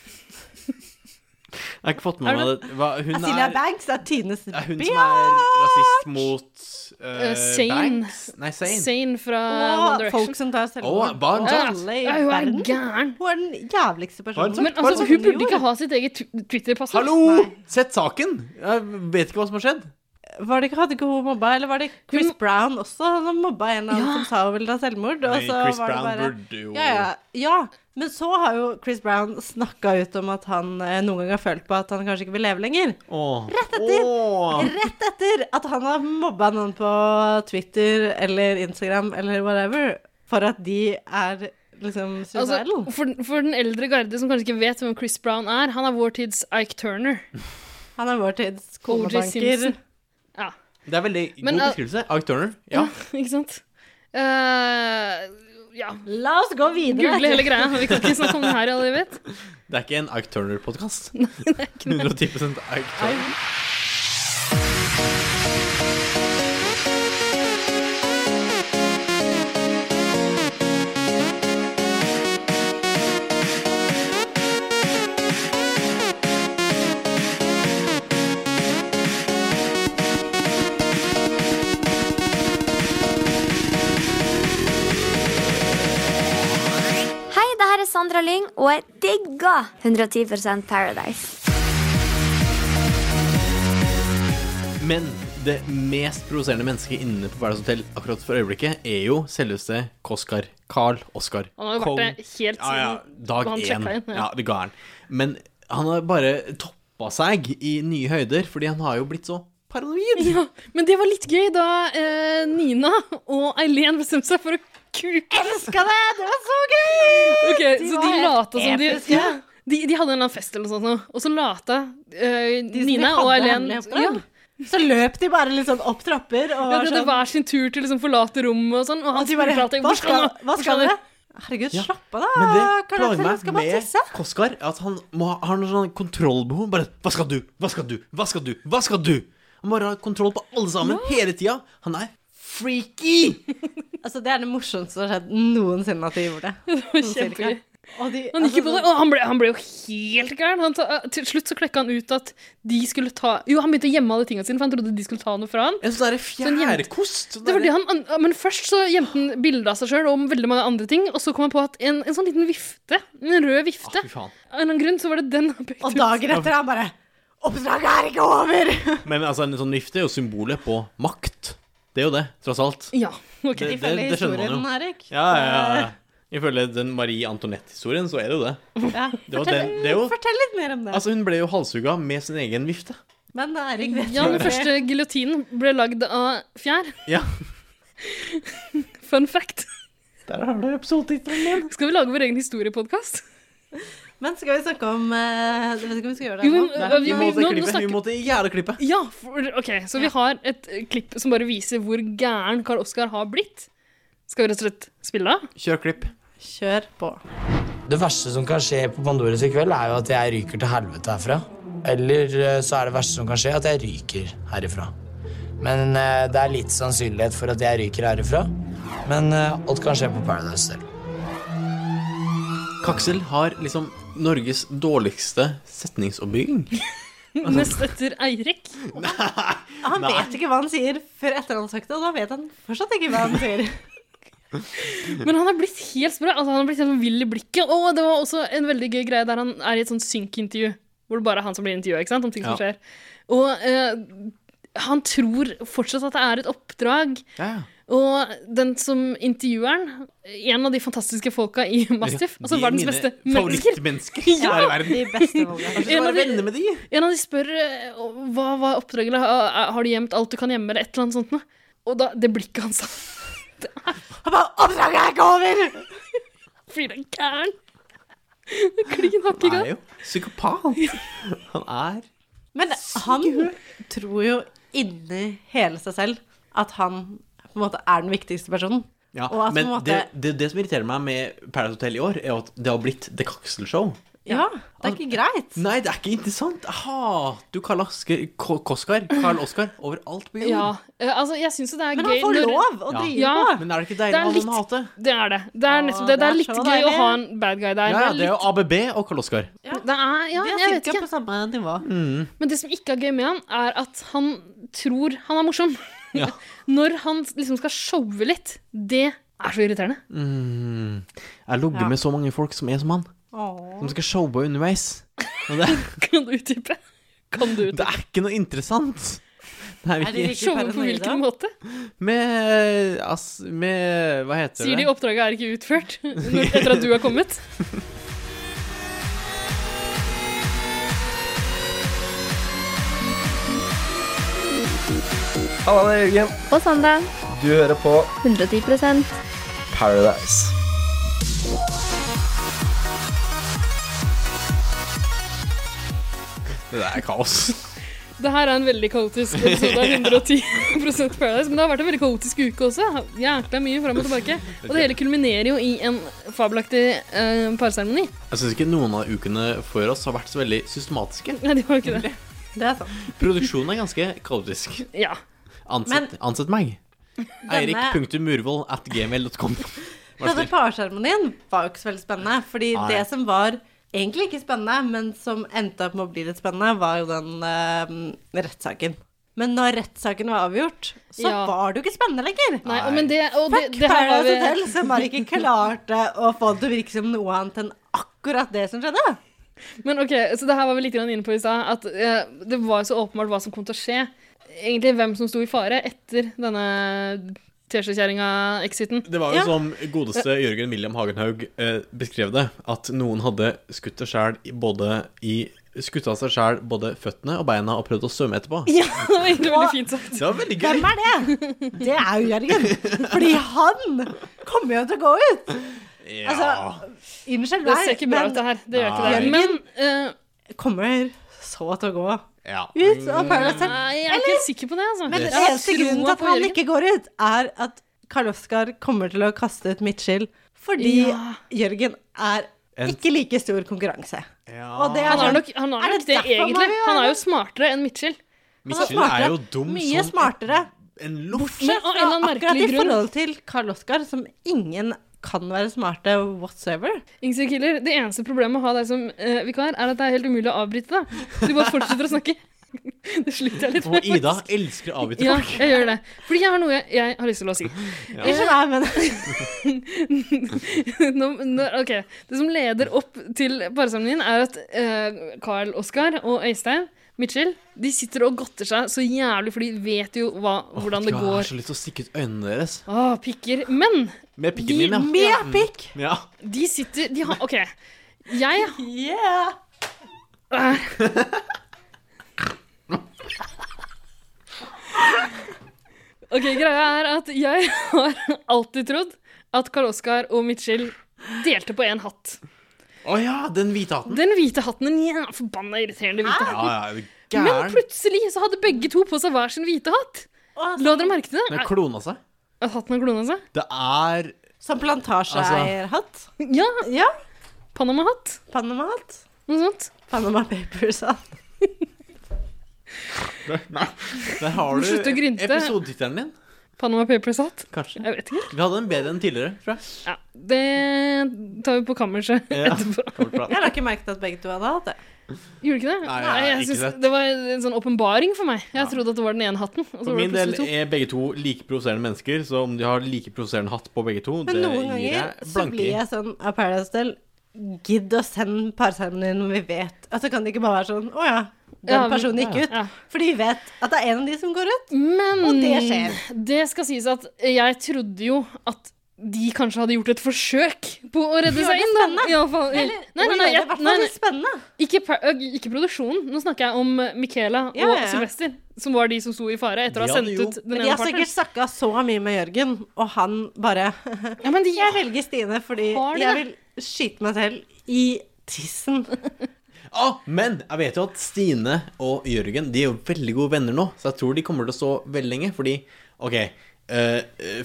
S5: Jeg har ikke fått
S4: Er
S5: med
S4: du
S5: meg det. Hva, hun
S1: Asilia
S5: er,
S1: Banks er Tines
S5: er hun som
S1: bia!
S5: er rasist mot
S4: Eh,
S5: uh,
S4: Zane.
S5: Banks? Nei, Zane.
S4: Zane fra One
S1: Og
S4: Direction.
S1: folk som tar
S5: Å,
S1: selvmord.
S5: barn tar-
S1: Alle i
S4: Ja, hun er
S1: verden.
S4: gæren.
S1: Hun er den jævligste personen.
S4: Men altså, hun burde ikke ha sitt eget tw- Twitter-passord.
S5: Hallo! Sett saken! Jeg vet ikke hva som har skjedd.
S1: Var det ikke, hadde ikke hun mobba, eller var det Chris Brown også? Han mobba en eller annen som sa hun ville ta selvmord. Og
S5: Nei,
S1: så
S5: Chris
S1: Altså, var det
S5: Brown
S1: bare,
S5: burde jo-
S1: ja, ja, ja, men så har jo Chris Brown snakka ut om at han eh, noen gang har følt på at han kanskje ikke vil leve lenger.
S5: Åh.
S1: Rett etter, rett etter at han har mobba noen på Twitter eller Instagram eller whatever, for at de er liksom suicidal.
S4: Altså, for, for den eldre garde som kanskje ikke vet hvem Chris Brown er, han er vår tids Ike Turner.
S1: han er vår tids
S4: O.J.
S1: konebanker.
S4: Simpson. Ja,
S5: Det er veldig
S4: Men,
S5: god
S4: eh,
S5: beskrivelse. Ike Turner. Ja.
S4: ikke sant? Eh, ja.
S1: La oss gå videre.
S4: Google hele greia. Vi kan ikke snakke om det her i all evighet.
S5: Det er ikke en Ike Turner-podkast. 110 Ike Turner.
S13: Hei, det her er Sandra Lyng, og jeg digger 110 Paradise.
S5: Men det mest provoserende mennesket inne på Paradise Hotel akkurat for øyeblikket er jo selveste Koskar. Carl Oskar.
S4: Han har jo vært det helt
S5: ja, ja,
S4: siden
S5: dag
S4: han
S5: én.
S4: sjekka inn, ja.
S5: Ja, det ga han. Men han har bare toppa seg i nye høyder, fordi han har jo blitt så Paranoid!
S4: Ja, men det var litt gøy da eh, Nina og Eileen bestemte seg for å kuke.
S1: Elska det! Det var så gøy!
S4: Ok,
S1: De
S4: så
S1: var
S4: de
S1: helt
S4: lata som de
S1: episke.
S4: De, de hadde en eller annen fest eller noe sånt, nå, og så lata eh,
S1: som de
S4: Nina
S1: hadde
S4: og Eileen
S1: hemmelig oppdrag. Så løp de bare litt sånn opp trapper og
S4: Ja,
S1: var
S4: de hadde
S1: sånn-
S4: hver sin tur til å liksom, forlate rommet og sånn. Og han
S1: de bare,
S4: spurte alltid
S1: hva
S4: hvor skal,
S1: skal,
S4: du-
S1: hva
S4: hvor
S1: skal
S4: du?»
S1: dere? Herregud,
S5: Ja.
S1: slapp av da.
S5: Men det
S1: Karl
S5: plager
S1: Axel, du
S5: meg
S1: skal bare
S5: med
S1: tisse.
S5: Koskar at han må, ha- har noe sånn kontrollbehov. Bare Hva skal du? Hva skal du? Hva skal du? Hva skal du? Han bare har kontroll på alle sammen hele tida. Han er freaky!
S1: Altså, det er det morsomste som har skjedd noensinne at de gjorde det. Sånn cirka.
S4: Kjempegøy.
S1: Og de,
S4: Han gikk jo på
S1: altså,
S4: det, og han ble, han ble jo helt gæren. Han ta, til slutt så klekka han ut at de skulle ta Jo, han begynte å gjemme alle tingene sine, for han trodde de skulle ta noe fra han.
S5: En sånn
S4: Så han gjemte-
S5: fjærkost?
S4: Det var det han, an- men først så gjemte han bilde av seg sjøl om veldig mange andre ting, og så kom han på at en, en sånn liten vifte, en rød vifte
S5: faen.
S4: Av en eller annen grunn så var det den han pekte ut.
S1: Og dagen etter han bare Oppdraget er ikke over!
S5: Men altså, en sånn vifte er jo symbolet på makt. Det er jo det, tross alt.
S4: Ja, ok.
S5: Det, det, det skjønner man jo.
S1: Erik.
S5: Ja, ja, ja. Ifølge den Marie Antoinette-historien, så er det jo det.
S1: Ja.
S5: Det var
S1: fortell,
S5: den- det er jo-
S1: fortell litt mer om det.
S5: Altså, hun ble jo halshugga med sin egen vifte.
S1: men Erik vet
S4: Ja,
S1: jo
S4: den
S1: det.
S4: første giljotinen ble lagd av fjær.
S5: Ja.
S4: Fun fact.
S5: Der har du episodetittelen min.
S4: Skal vi lage vår egen historiepodkast?
S1: Men skal vi snakke om eh, Jeg vet ikke om vi skal gjøre det
S4: Jo, men,
S1: ennå.
S4: øh, vi-
S5: Vi måtte
S4: nå- nå
S5: klippe.
S4: snakker-
S5: Vi måtte gjerne klippe.
S4: Ja, for, ok, så vi har et eh, klipp som bare viser hvor gæren Karl Oskar har blitt. Skal vi rett og slett spille av?
S5: Kjør klipp.
S1: Kjør på.
S14: Det verste som kan skje på Pandoras i kveld, er jo at jeg ryker til helvete herfra. Eller eh, så er det verste som kan skje, at jeg ryker herifra. Men eh, det er litt sannsynlighet for at jeg ryker herifra. Men eh, alt kan skje på Paradise selv.
S5: Kaksel har liksom Norges dårligste setningsoppbygging. Altså-
S4: Nest etter Eirik.
S1: Han
S5: Nei.
S1: vet ikke hva han sier før etter han har sagt det, og da vet han fortsatt ikke hva han sier.
S4: Men han har blitt helt sprø. Altså, han har blitt helt sånn vill i blikket. Og det var også en veldig gøy greie der han er i et sånn synkintervju. Hvor det bare er han som blir intervjua ikke sant, om ting som
S5: Ja.
S4: skjer. Og eh, han tror fortsatt at det er et oppdrag. Og den som intervjueren, en av de fantastiske folka i Mastiff, altså
S5: De er
S4: verdens
S5: mine
S4: beste
S5: Favorittmennesker
S4: mennesker Ja!
S5: ja, i verden.
S1: De beste valgene.
S5: Kanskje
S4: En
S5: bare
S4: av de-
S5: venner med de.
S4: En av de spør eh, hva var oppdraget, eller ha- har du gjemt alt du kan gjemme, eller et eller annet sånt noe. Og da, det blikket hans det er-
S1: Han bare 'Oppdraget er ikke over!'
S4: Fyren er gæren. Klin hakk
S5: Han
S4: i gang.
S5: er jo psykopat. Han er
S1: Men han tror jo inni hele seg selv at han på en måte er den viktigste personen.
S5: ja,
S1: Og at på
S5: Men
S1: en måte
S5: det, det, det som irriterer meg med Paradise Hotel i år, er at det har blitt The Kaksel Show.
S1: Ja, det er ikke greit.
S5: Nei, det er ikke interessant. Jeg hater Karl Asker Ko- Koskar. Karl Oskar overalt på jord.
S4: Ja, eh, altså jeg syns jo det er
S1: Men
S4: gøy
S1: han får
S4: når-
S1: lov å drive
S4: ja.
S1: på.
S5: Men er det ikke deilig å ha noen å hate?
S4: Det er det. Det er, nettopp, det,
S1: det
S4: det
S1: er
S4: er litt
S1: så
S4: gøy å
S1: deilig.
S4: ha en bad guy der.
S5: Ja,
S4: Det er
S5: det er jo
S4: litt-
S5: ABB og Karl Oskar.
S4: det er, ja,
S1: Vi
S4: jeg
S1: er
S4: vet
S1: cirka
S4: ikke.
S1: på samme nivå.
S5: Mm.
S4: Men det som ikke er gøy med han, er at han tror han er morsom.
S5: Ja.
S4: Når han liksom skal showe litt, det er så irriterende.
S5: Mm. Jeg logger med så mange folk som er som han. Som skal showe underveis. Og det,
S4: Kan du utdype? Kan du
S5: det er ikke noe interessant. Det er jo ikke-
S4: Showe på hvilken måte?
S5: Med, ass, med Hva heter
S4: Sier de
S5: det?
S4: oppdraget er ikke utført når, etter at du har kommet?
S15: Halla, det er Jørgen.
S16: Og Sandra.
S15: Du hører på
S16: 110
S15: Paradise.
S5: Det der er kaos.
S4: Det her er en veldig kaotisk episode av 110 Paradise, men det har vært en veldig kaotisk uke også. Jækla mye fram og tilbake. Og det hele kulminerer jo i en fabelaktig eh, parseremoni.
S5: Jeg syns ikke noen av ukene før oss har vært så veldig systematiske.
S4: Nei, det var jo ikke det.
S1: Det er sant.
S5: Produksjonen er ganske kaotisk.
S4: Ja.
S5: Ansett, ansett meg.
S1: Denne-
S5: Eirik.murvold at gmail.com. Vær så
S1: Denne
S5: snill.
S1: parseremonien var jo ikke så veldig spennende. Fordi
S5: Nei.
S1: det som var egentlig ikke spennende, men som endte opp med å bli litt spennende, var jo den eh, rettssaken. Men når rettssaken var avgjort, så
S4: Ja.
S1: var det jo ikke spennende lenger.
S4: Nei, og men det, og det,
S1: Fuck
S4: det her var
S1: Paradise
S4: vi-
S1: Hotel, altså som bare ikke klarte å få det til å virke som noe annet enn akkurat det som skjedde.
S4: Men ok, så det her var vi litt grann inne på i stad, at eh, det var jo så åpenbart hva som kom til å skje. Egentlig hvem som sto i fare etter denne teskjekjerringa-exiten.
S5: Det var jo som godeste Jørgen William Hagenhaug eh, beskrev det, at noen hadde skutt seg sjæl i- både i Skutt av seg sjæl både føttene og beina og prøvd å svømme etterpå.
S4: Ja, det var egentlig veldig fint sagt.
S5: Det var veldig gøy.
S1: Hvem er det? Det er jo Jørgen. Fordi han kommer jo til å gå ut.
S5: Ja.
S1: Altså, unnskyld
S4: Det ser ikke bra ut, det her. Det gjør ikke det. Men eh,
S1: kommer så til å gå
S5: ja.
S1: ut av Paradise Hotel.
S4: Nei, jeg er ikke helt sikker på det, altså.
S1: Men den
S4: Mm. Jeg har
S1: eneste
S4: troa
S1: grunnen til at
S4: på
S1: han
S4: Jørgen.
S1: ikke går ut, er at Karl Oskar kommer til å kaste ut midtskill fordi
S4: Ja.
S1: Jørgen er
S4: En-
S1: ikke like stor konkurranse. Og det er
S4: han er
S1: sånn-
S4: nok, han er
S1: er
S4: nok
S1: det
S4: det,
S1: derfor man
S4: egentlig.
S1: vil gjøre
S4: Han er jo
S1: det?
S4: smartere enn Mitchell.
S5: Mitchell er jo dum
S1: Mye
S5: som
S1: smartere.
S5: en loff.
S1: Bortsett
S4: av en
S1: fra
S4: eller annen
S1: akkurat i
S4: merkelig grunn.
S1: forhold til Karl Oskar, som ingen kan være smarte whatsoever.
S4: Ingse Killer, det eneste problemet med å ha deg som eh, vikar, er at det er helt umulig å avbryte deg. Du bare fortsetter å snakke. Det sliter jeg litt
S5: Og
S4: med.
S5: Ida
S4: faktisk.
S5: elsker å avbryte
S4: Ja,
S5: folk.
S4: jeg gjør det. Fordi jeg har noe jeg, jeg har lyst til å si.
S5: Ja.
S1: Unnskyld meg, men
S4: nå, nå, ok, Det som leder opp til parsamlingen, er at eh, Carl Oskar og Øystein Mitchell de sitter og godter seg så jævlig, for de vet jo hva, hvordan det
S5: Åh, Jeg har
S4: går.
S5: så lyst til å stikke ut øynene deres.
S4: Å, pikker. Men
S5: Med pikken
S4: De-
S5: min, ja.
S4: med
S5: Mm.
S4: pikk?
S5: Ja.
S4: de sitter De har OK. Jeg Øh. OK, greia er at jeg har alltid trodd at Karl Oskar og Mitchell delte på én hatt.
S5: Å ja, den hvite hatten.
S4: Den hvite hatten, den jævla forbanna irriterende hvite
S5: Ja, ja,
S4: hatten.
S5: er du
S4: Men
S5: gæren?
S4: plutselig så hadde begge to på seg hver sin hvite hatt. La dere merke til
S5: Den
S4: det?
S5: har klona seg.
S4: At hatten har klona seg?
S5: Det er
S1: Som
S4: Altså.
S1: plantasjeeierhatt?
S4: Ja.
S1: ja.
S4: Panama-hatt.
S1: Panama-hatt.
S4: Noe sånt.
S1: Panama Papers-hatt.
S5: Der har du
S4: Slutt å grynte.
S5: episodetittelen din.
S4: Panama Papers-hatt.
S5: Kanskje.
S4: Jeg vet ikke.
S5: Vi hadde en bedre enn tidligere, tror jeg.
S4: Ja, det tar vi på kammerset
S5: Ja,
S4: etterpå.
S5: kammerprat.
S1: Jeg har ikke merket at begge to hadde hatt det.
S4: Gjorde ikke det?
S5: Nei, jeg har ikke
S4: synes
S5: sett.
S4: Det var en sånn åpenbaring for meg. Jeg trodde at det var den ene hatten. Og
S5: For
S4: så var det
S5: min del
S4: plutselig to.
S5: er begge to like provoserende mennesker, så om de har like provoserende hatt på begge to, det
S1: Men noen
S5: gir
S1: ganger
S5: jeg
S1: så
S5: blanke
S1: blir
S5: i.
S1: jeg sånn av Paradise Hotel Gidd å sende parsamene dine når vi vet Altså kan det ikke bare være sånn Å ja, den
S4: Ja, vi-
S1: personen gikk
S4: ja,
S1: ut. For de vet at det er en av de som går ut.
S4: Men
S1: Og det skjer.
S4: Det skal sies at jeg trodde jo at de kanskje hadde gjort et forsøk på å redde
S1: Gjør
S4: seg
S1: det
S4: inn. da.
S1: spennende.
S4: I alle fall-
S1: Eller,
S4: nei, nei, nei,
S1: gjør det
S4: jeg-
S1: i hvert fall
S4: nei, nei.
S1: litt spennende.
S4: Ikke, pa- ø, ikke produksjonen. Nå snakker jeg om eh, Michaela og
S1: Ja, ja, ja.
S4: Sylvester, som var de som sto i fare etter å ha
S1: De
S4: sendt
S1: hadde jo-
S4: ut
S1: Men
S4: den
S1: de
S4: ene
S1: har sikkert
S4: partneren.
S1: snakka så mye med Jørgen, og han bare Jeg velger Stine fordi
S4: Har de
S1: jeg
S4: det?
S1: vil skyte meg selv i tissen.
S5: Ah, men jeg vet jo at Stine og Jørgen De er jo veldig gode venner nå, så jeg tror de kommer til å stå veldig lenge. Fordi, OK, eh,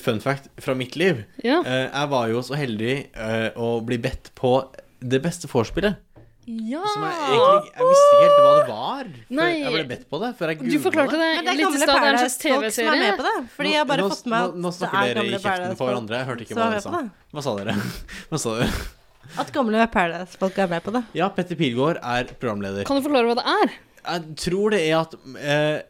S5: fun fact fra mitt liv.
S4: Ja.
S5: Eh, jeg var jo så heldig eh, å bli bedt på det beste vorspielet.
S4: Ja!
S5: Egentlig, jeg visste ikke helt hva det var. Før
S4: Ah. Nei.
S5: jeg ble bedt på det. Før jeg
S4: Du forklarte
S5: googlet
S4: det
S1: Men det er
S4: litt i
S1: gamle
S4: stad. Det er en slags
S1: Paradise-folk som er
S4: TV-serie.
S1: med på det. Fordi jeg har bare
S5: nå,
S1: fått med
S5: nå, nå
S1: at
S5: snakker
S1: det er
S5: dere i
S1: gamle
S5: kjeften på
S1: Paradise-folk
S5: hverandre. Jeg hørte ikke
S1: som
S5: hva
S1: er
S5: dere
S1: med
S5: sa.
S1: på det.
S5: Hva sa dere? Hva sa dere?
S1: At gamle Paradise-folk er med på det.
S5: Ja, Petter Pilgaard er programleder.
S4: Kan du forklare hva det er?
S5: Jeg tror det er at eh,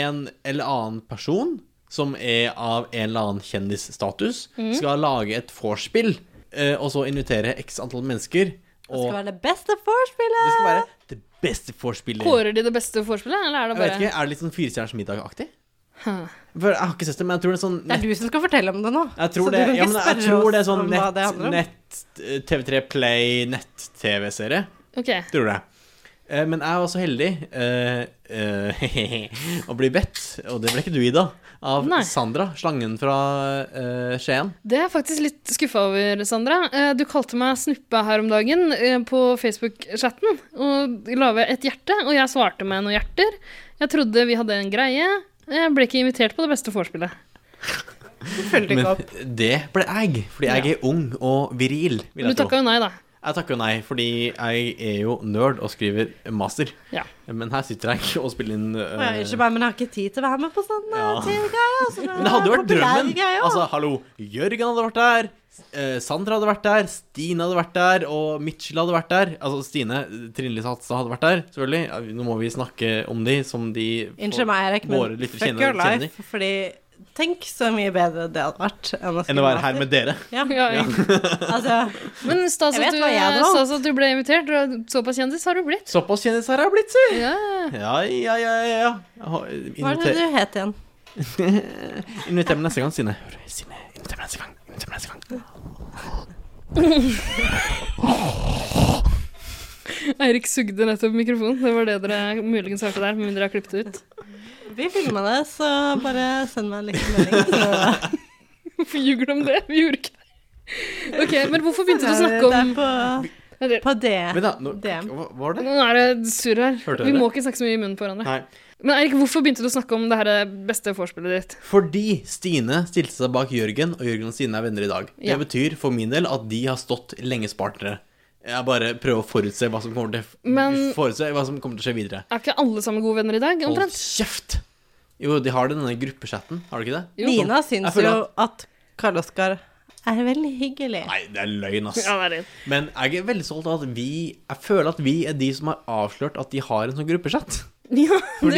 S5: en eller annen person som er av en eller annen kjendisstatus,
S1: Mhm.
S5: skal lage et vorspiel, eh, og så invitere x antall mennesker.
S1: Det skal
S5: Og
S1: være det beste vorspielet.
S5: skal være det beste vorspielet.
S4: Kårer de det beste vorspielet, eller er det
S5: Jeg vet
S4: bare
S5: ikke, Er det litt sånn Firestjerners middag-aktig?
S4: Hæ.
S5: For Jeg har ikke sett det, men jeg tror det er sånn
S1: Det er du som skal fortelle om det nå.
S5: Jeg tror,
S1: Så du
S5: det,
S1: kan
S5: ja,
S1: ikke
S5: men jeg
S1: spørre
S5: tror det er
S1: oss
S5: sånn
S1: om hva
S5: nett,
S1: det handler om.
S5: nett eh, TV3 Play, nett-TV-serie.
S4: Ok.
S5: Tror jeg. Eh, Men jeg var så heldig eh, eh, å bli bedt, og det ble ikke du, Ida, av
S4: Nei.
S5: Sandra, slangen fra eh, Skien.
S4: Det er jeg faktisk litt skuffa over, Sandra. Eh, Du kalte meg snuppe her om dagen eh, på Facebook-chatten og la ved et hjerte, og jeg svarte med noen hjerter. Jeg trodde vi hadde en greie. Jeg ble ikke invitert på det beste vorspielet.
S1: Følger
S5: Men
S1: ikke opp.
S5: det ble jeg, fordi jeg er ung og viril, vil
S4: Men
S5: jeg
S4: du takka
S5: tro.
S4: jo nei, da.
S5: Jeg takker jo nei, fordi jeg er jo nerd og skriver master.
S4: Ja.
S5: Men her sitter jeg og spiller inn
S1: Å ja,
S5: eh,
S1: Unnskyld meg, men jeg har ikke tid til å være med på sånn ja.
S5: Ja.
S1: TV-greie. altså,
S5: Men det hadde jo vært
S1: populær
S5: drømmen.
S1: greie, ja.
S5: Altså, hallo, Jørgen hadde vært der. eh, Sandra hadde vært der, Stine hadde vært der, og Mitchell hadde vært der. Altså Stine eh, Trine Lise Hatstad hadde vært der, selvfølgelig. Ja, Nå må vi snakke om de som de
S1: Unnskyld meg, Erik,
S5: våre
S1: men
S5: lyttere
S1: fuck
S5: kjenner,
S1: your
S5: kjenner.
S1: life. Fordi tenk så mye bedre det hadde vært enn å,
S5: Enn å være her med dere.
S1: Ja.
S4: Ja, ja.
S1: Altså,
S4: Men stas
S1: Jeg
S4: at
S1: vet
S4: du,
S1: hva jeg hadde valgt.
S4: stas at du ble invitert. Du er Såpass kjendis har du blitt.
S5: Såpass kjendis har jeg blitt, si!
S4: Ja.
S5: Ja, ja, ja. ja, ja. Jeg har-
S1: hva er det
S5: Inviter,
S1: du het igjen?
S5: inviter meg neste gang, Stine. Hør, Stine, inviter meg neste gang. Inviter meg neste gang.
S4: Eirik sugde nettopp mikrofonen. Det var det dere muligens hørte der, med mindre jeg har klippet det ut.
S1: Vi filma det, så bare send meg en liten melding. Så.
S4: Hvorfor ljuger du om det? Vi gjorde ikke det. Ok, men hvorfor begynte du å snakke om
S1: Det er på, på det.
S5: Men da, nå-
S1: DM.
S5: hva var det?
S4: Nå er det surr her.
S5: Hørte dere
S4: Vi må
S5: det?
S4: ikke snakke så mye i munnen på hverandre.
S5: Nei.
S4: Men Erik, hvorfor begynte du å snakke om det her eh, beste vorspielet ditt?
S5: Fordi Stine stilte seg bak Jørgen, og Jørgen og Stine er venner i dag. Det
S4: Ja.
S5: betyr for min del at de har stått lenge spartnere. Jeg bare prøver å forutse hva som kommer til,
S4: Men-
S5: forutse hva som kommer til å skje videre.
S4: Er ikke alle sammen gode venner i dag,
S5: Hold
S4: omtrent?
S5: kjeft! Jo, de har denne gruppechatten, har de ikke det?
S1: Nina
S5: Som- jeg
S1: syns
S5: føler
S1: jo at Karl Oskar er veldig hyggelig.
S5: Nei, det er løgn, ass.
S1: Ja, det er løgn.
S5: Men jeg er veldig stolt av at vi Jeg føler at vi er de som har avslørt at de har en sånn gruppechat. Fordi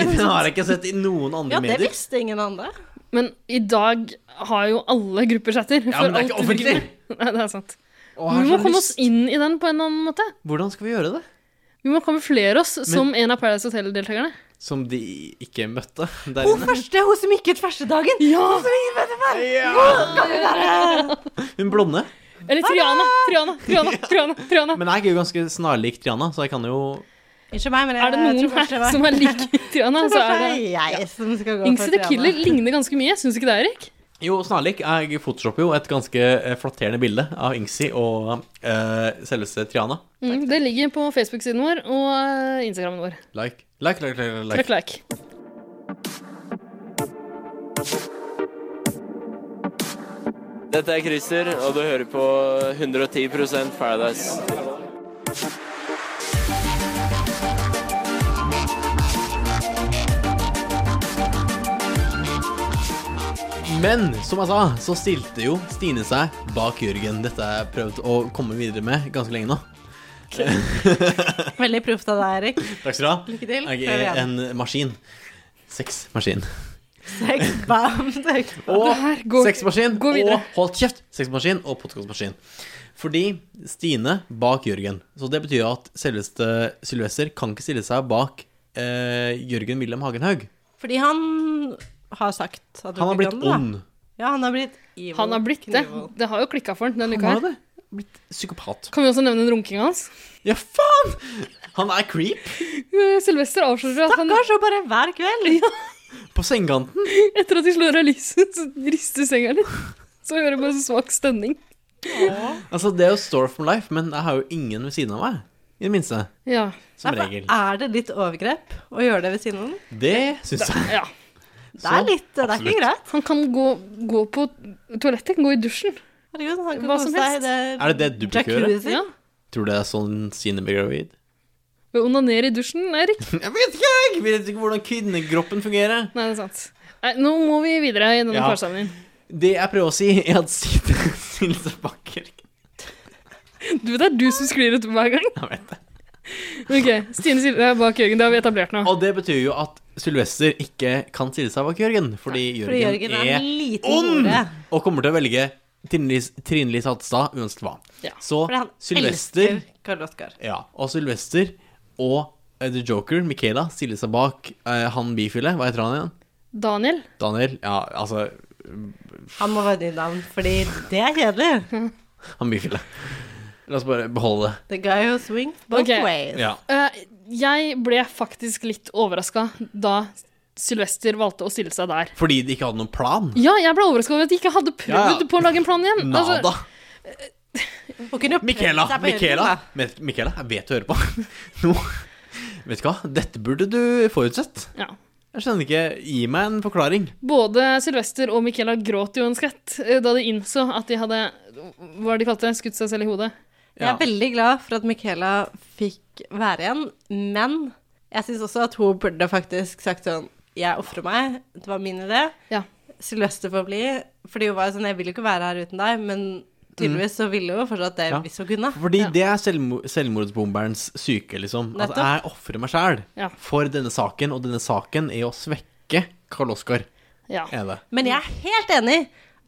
S1: er
S5: den
S1: sant.
S5: har jeg ikke sett i noen andre
S1: Ja, det
S5: medier.
S1: visste ingen andre.
S4: Men i dag har jo alle gruppechatter.
S5: Ja,
S4: for
S5: men det er ikke
S4: alt du vil. Nei, det er sant. vi må komme oss inn i den på en eller annen måte.
S5: Hvordan skal vi gjøre det?
S4: Vi må kamuflere oss som en av Paradise Hotel-deltakerne.
S5: Som de ikke møtte der
S1: Hun
S5: inne.
S1: første, hun som gikk ut første dagen!
S4: Ja!
S1: Hun som ingen vet hvem er!
S5: Ja!
S1: Hvor kan vi være?
S5: Hun blonde.
S4: Eller Triana. Triana, Triana, Triana, Triana.
S5: Men jeg er jo ganske snarlik Triana, så jeg kan jo
S1: Unnskyld meg, men jeg
S4: Er det noen
S1: tror
S4: her
S1: kanskje det var-
S4: som er lik Triana,
S1: Jeg tror
S4: så er det
S1: kanskje det er jeg som skal gå for
S4: Ingsy the
S1: Triana.
S4: Killer ligner ganske mye, syns du ikke det, Erik?
S5: Jo, snarlik. Jeg photoshopper jo et ganske eh, flatterende bilde av Ingsi og eh, selveste Triana.
S4: Mm, det ligger på Facebook-siden vår og eh, Instagramen vår.
S5: Like. Like, like, like, like.
S4: Trykk like.
S16: Dette er Christer, og du hører på 110 Paradise.
S5: Men som jeg sa, så stilte jo Stine seg bak Jørgen. Dette har jeg prøvd å komme videre med ganske lenge nå.
S1: Veldig proft av deg, Erik.
S5: Takk skal du ha.
S1: Lykke til.
S5: Jeg
S1: Prøv
S5: er
S1: igjen.
S5: en maskin. Sexmaskin.
S1: Sex, bam, sex.
S5: Og
S1: Det her går-
S5: sexmaskin
S1: gå videre.
S5: og hold kjeft! Sexmaskin og podkastmaskin. Fordi Stine bak Jørgen. Så det betyr at selveste Sylvester kan ikke stille seg bak eh, Jørgen Wilhelm Hagenhaug.
S1: Fordi han har sagt at du
S5: Han har
S1: ikke
S5: blitt
S1: kan det, da.
S5: ond.
S1: Ja, han har blitt evil.
S4: Han har blitt det.
S1: Knievel.
S4: Det har jo klikka for han denne uka
S5: har
S4: her.
S5: Psykopat.
S4: Kan vi også nevne den runkinga hans?
S5: Ja, faen! Han er creep
S4: Eh, Sylvester avslører at han
S1: Stakkars, og bare hver kveld!
S4: Ja,
S5: på sengekanten.
S4: etter at de slår av lyset, så rister senga litt. Så hører jeg bare så svak stønning.
S5: Altså, det er jo store for life, men jeg har jo ingen ved siden av meg. I det minste.
S4: Ja.
S5: Som
S1: Nei, for
S5: regel.
S1: Er det litt overgrep å gjøre det ved siden av den?
S5: Det syns jeg.
S4: Ja.
S1: Det er litt, det er ikke greit.
S4: Han kan gå, gå på toalettet, gå i dusjen.
S1: Herregud, han kan
S4: Hva
S1: kose
S4: som
S1: seg i
S4: helst.
S1: det
S5: Er det det du bruker å gjøre?
S1: jacuzzi.
S4: Ja.
S5: Tror du det er sånn Stine blir gravid?
S4: Ved å onanere i dusjen, Erik.
S5: Jeg vet ikke, jeg! Vet ikke hvordan kvinnekroppen fungerer.
S4: Nei, det er sant. Nei, nå må vi videre i denne
S5: Ja.
S4: parsamlingen.
S5: Det jeg prøver å si, er at Stine stiller seg bak Jørgen.
S4: Du vet det er du som sklir ut hver gang.
S5: Jeg vet det.
S4: Ok, Stine Silje er bak Jørgen, det har vi etablert nå.
S5: Og det betyr jo at Sylvester ikke kan stille seg bak Jørgen, fordi Jørgen,
S1: Fordi Jørgen er en liten
S5: ond
S1: hore.
S5: og kommer til å velge Trine Lis- Trine Lise Hattestad uansett hva.
S1: Ja.
S5: Så
S1: Fordi han
S5: Sylvester
S1: elsker Karl Oskar.
S5: Ja, og Sylvester og eh, The Joker, Michaela, stiller seg bak eh, han bifile. Hva heter han igjen?
S4: Daniel?
S5: Daniel? Ja, altså
S1: Han må være nytt navn, fordi det er kjedelig.
S5: han bifile. La oss bare beholde det.
S1: The guy who swings both
S4: Ok.
S1: ways.
S5: Ja.
S4: Eh, jeg ble faktisk litt overraska da Sylvester valgte å stille seg der.
S5: Fordi de ikke hadde noen plan?
S4: Ja, jeg ble overraska over at de ikke hadde prøvd
S5: Ja, ja.
S4: på å lage en plan igjen. Altså,
S5: Nada.
S1: Hun kunne jo prøvd
S5: Michaela,
S1: seg på
S5: Michaela,
S1: Jørgen, da.
S5: Vet- Michaela, jeg vet du hører på. Nå Vet du hva, dette burde du forutsett.
S4: Ja.
S5: Jeg skjønner ikke. Gi meg en forklaring.
S4: både Sylvester og Michaela gråt jo en skvett eh, da de innså at de hadde Hva er det de kalte det? Skutt seg selv i hodet.
S1: Jeg er veldig glad for at Michaela fikk være igjen, men jeg syns også at hun burde faktisk sagt sånn Jeg ofrer meg, det var min idé.
S4: Ja.
S1: Sylvester får bli. Fordi hun var jo sånn Jeg vil jo ikke være her uten deg, men tydeligvis så ville hun fortsatt det
S5: Ja.
S1: hvis hun kunne.
S5: Fordi det er selvmo- selvmordsbomberens syke, liksom. At
S1: Nettopp.
S5: jeg ofrer meg sjæl
S1: Ja.
S5: for denne saken, og denne saken er å svekke Karl Oskar.
S1: Ja.
S5: Er det.
S1: Men jeg er helt enig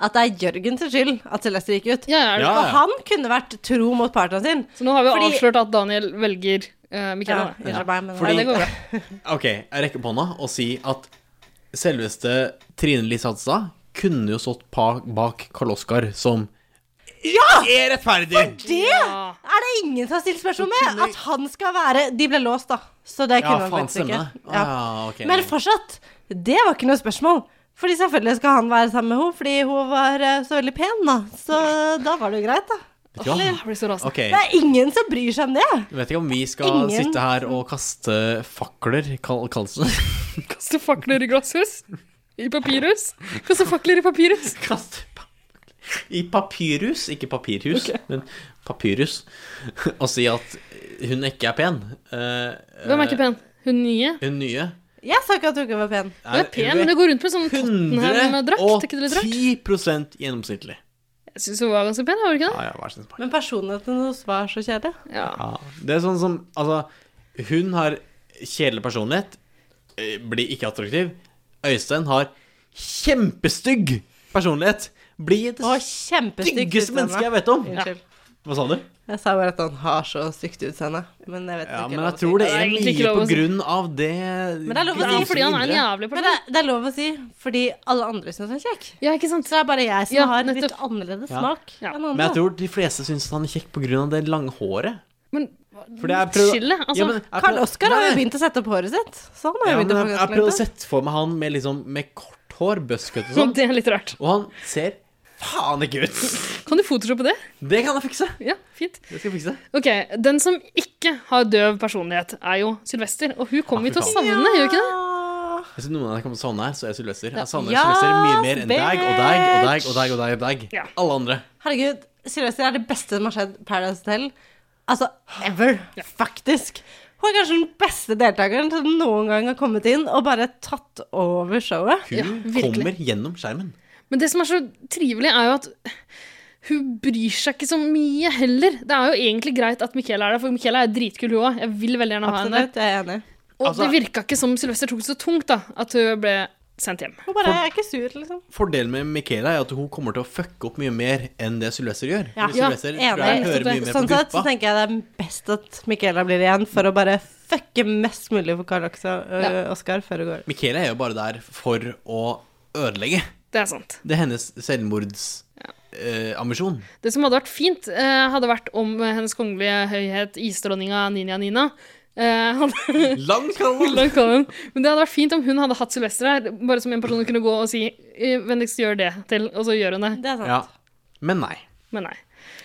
S1: at det er Jørgen sin skyld at Celeste gikk ut.
S5: er det. Ja, ja.
S1: For han kunne vært tro mot partneren sin.
S4: Så nå har vi avslørt at Daniel velger eh, Michaela.
S1: Ja, unnskyld meg, men-
S4: Nei, det går bra.
S5: OK, jeg rekker opp hånda og sier at selveste Trine Lise Hadstad kunne jo stått pa- bak Karl Oskar som
S1: Ja!
S5: Er rettferdig!
S1: For det
S4: Ah,
S1: er det ingen som har stilt spørsmål med! At han skal være De ble låst, da. Så det
S5: Ja,
S1: kunne han
S5: faen,
S1: faktisk ikke.
S5: stemme. Ah, ok.
S1: Men fortsatt, det var ikke noe spørsmål. Fordi selvfølgelig skal han være sammen med henne, fordi hun var eh, så veldig pen, da. Så da var det jo greit, da.
S5: Vet du hva?
S1: Eller-
S5: Ok.
S1: Det er ingen som bryr seg om det.
S5: Jeg vet ikke om vi skal
S1: Ingen.
S5: sitte her og kaste fakler, kall, kalles det.
S4: Kaste fakler i glasshus. I papirhus. Kaste fakler i papirhus.
S5: Kaste I papyrus, ikke papirhus, men papyrus, og si at hun ikke er pen. Eh,
S4: Hvem er ikke pen? Hun nye?
S5: Hun nye.
S1: Jeg sa ikke at hun ikke var pen.
S4: Hun er pen, men hun går rundt med sånn Tottenham-drakt. Er ikke det litt rart?
S5: 110 gjennomsnittlig.
S4: Jeg syns hun var ganske pen, var hun ikke det?
S5: Ja, ja, vær så snill.
S1: Men personligheten hennes var så kjedelig.
S5: Ja. Det er sånn som Altså, hun har kjedelig personlighet, eh, blir ikke attraktiv. Øystein har kjempestygg personlighet. Blir det
S1: Kjempestygt
S5: styggeste mennesket jeg vet om.
S1: Unnskyld.
S5: Hva sa du?
S1: Jeg sa bare at han har så stygt utseende. Men jeg vet
S5: Ja,
S1: ikke
S5: men
S1: lov
S5: jeg
S1: å si.
S5: tror det
S1: Ja,
S5: er
S1: egentlig ikke
S5: mye
S1: lov å
S5: på
S1: si.
S5: grunn av det
S1: Men det er lov å si
S5: grumse
S1: fordi han er en
S5: indre.
S4: jævlig
S1: Men det, det er lov å si, fordi alle andre syns han er kjekk.
S4: Ja, ikke sant?
S1: Så det er bare jeg som
S4: Ja,
S1: har litt
S4: nettopp.
S1: annerledes
S5: Ja.
S1: smak enn andre.
S5: Men jeg tror de fleste syns han er kjekk på grunn av det lange håret.
S4: Men
S5: For det er prøv-
S4: skille, altså.
S5: Ja, men jeg prøv-
S1: Karl Oskar har
S5: Nei,
S1: jo
S5: nei.
S1: begynt å sette opp håret sitt. Så han har
S5: Ja,
S1: jo
S5: men
S1: begynt å
S5: jeg,
S1: få
S5: jeg
S1: ganske
S5: prøvde å
S1: langt, da.
S5: sette for meg han med, liksom, med kort hår, buzzcut og
S4: Så
S5: sånn.
S4: Det er litt rart.
S5: Og han ser faen ikke ut!
S4: Kan du photoshoppe det?
S5: Det kan jeg fikse.
S4: Ja, fint.
S5: Det skal jeg fikse.
S4: Ok, Den som ikke har døv personlighet, er jo Sylvester. Og hun kommer vi til å
S5: fy
S4: savne,
S5: faen.
S4: gjør vi ikke det?
S5: Hvis noen av dere kommer til å savne her, så er jeg Sylvester. Jeg savner
S1: Ja,
S5: Sylvester mye mer enn deg og deg og deg
S1: bitch.
S5: og deg. og deg og deg Alle andre.
S1: Herregud, Sylvester er det beste som har skjedd Paradise Hotel. Altså ever, faktisk. Hun er kanskje den beste deltakeren som noen gang har kommet inn og bare tatt over showet.
S5: Hun kommer gjennom skjermen.
S4: Men det som er så trivelig, er jo at hun bryr seg ikke så mye heller. Det er jo egentlig greit at Michaela er der, for Michaela er dritkul, hun òg. Jeg vil veldig gjerne ha henne
S1: Absolutt,
S4: der.
S1: jeg er enig.
S4: Og
S5: Altså-
S4: det virka ikke som Sylvester tok det så tungt, da, at hun ble sendt hjem.
S1: Hun bare er ikke sur, liksom.
S5: Fordelen med Michaela er at hun kommer til å fucke opp mye mer enn det Sylvester gjør.
S1: Ja,
S5: Fordi
S1: ja
S5: Sylvester
S1: enig.
S5: tror jeg hører mye mer
S1: Sånn
S5: på
S1: sett så
S5: guppa.
S1: tenker jeg det er best at Michaela blir igjen, for å bare fucke mest mulig for Karl Oskar
S5: Ja.
S1: Oscar før hun går.
S5: Michaela er jo bare der for å ødelegge.
S4: Det er sant.
S5: Det er hennes eh, selvmordsambisjon.
S4: Det som hadde vært fint, eh, hadde vært om eh, Hennes kongelige høyhet isdronninga Ninja Nina eh, hadde...
S5: Langt kan
S4: Langt kan hun. Men det hadde vært fint om hun hadde hatt Sylvester her, bare som en person hun kunne gå og si eh, Vennligst gjør det til, og så gjør hun det.
S1: Det er
S5: ja. Men nei.
S4: Men nei.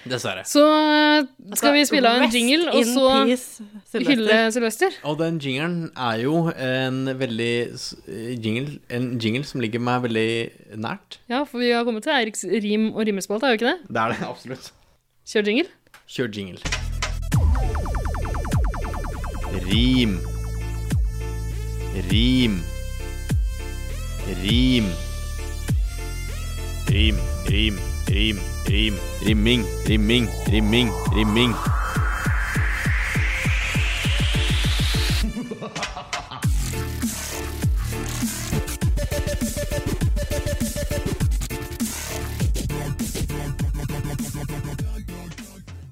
S5: Dessverre.
S4: Så eh, skal vi spille av en
S1: Altså, rest
S4: jingle, og
S1: in
S4: så
S1: peace, Sylvester.
S4: hylle Sylvester?
S5: Og den jingelen er jo en veldig s- eh, jingle, En jingle som ligger meg veldig nært.
S4: Ja, for vi har kommet til Eiriks rim- og rimespalte, er jo ikke det?
S5: Det er det, absolutt.
S4: Kjør jingle.
S5: Kjør jingle. Rim. Rim. Rim. Rim, rim, rim, rim. Rimming, rimming, rimming, rimming.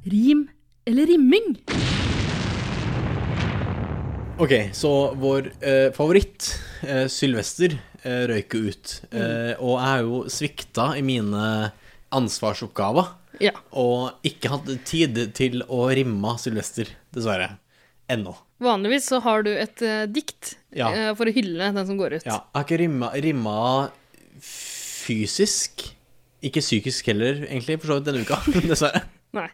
S17: Rim eller rimming?
S5: Ok, så vår eh, favoritt, eh, Sylvester, eh, røyker ut. Eh, og jeg har jo svikta i mine ansvarsoppgaver.
S4: Ja.
S5: Og ikke hatt tid til å rimme Sylvester, dessverre. Ennå.
S4: Vanligvis så har du et eh, dikt
S5: Ja.
S4: eh, for å hylle den som går ut.
S5: Ja, jeg har ikke rimma, rimma fysisk. Ikke psykisk heller, egentlig, for så vidt denne uka, dessverre.
S4: Nei.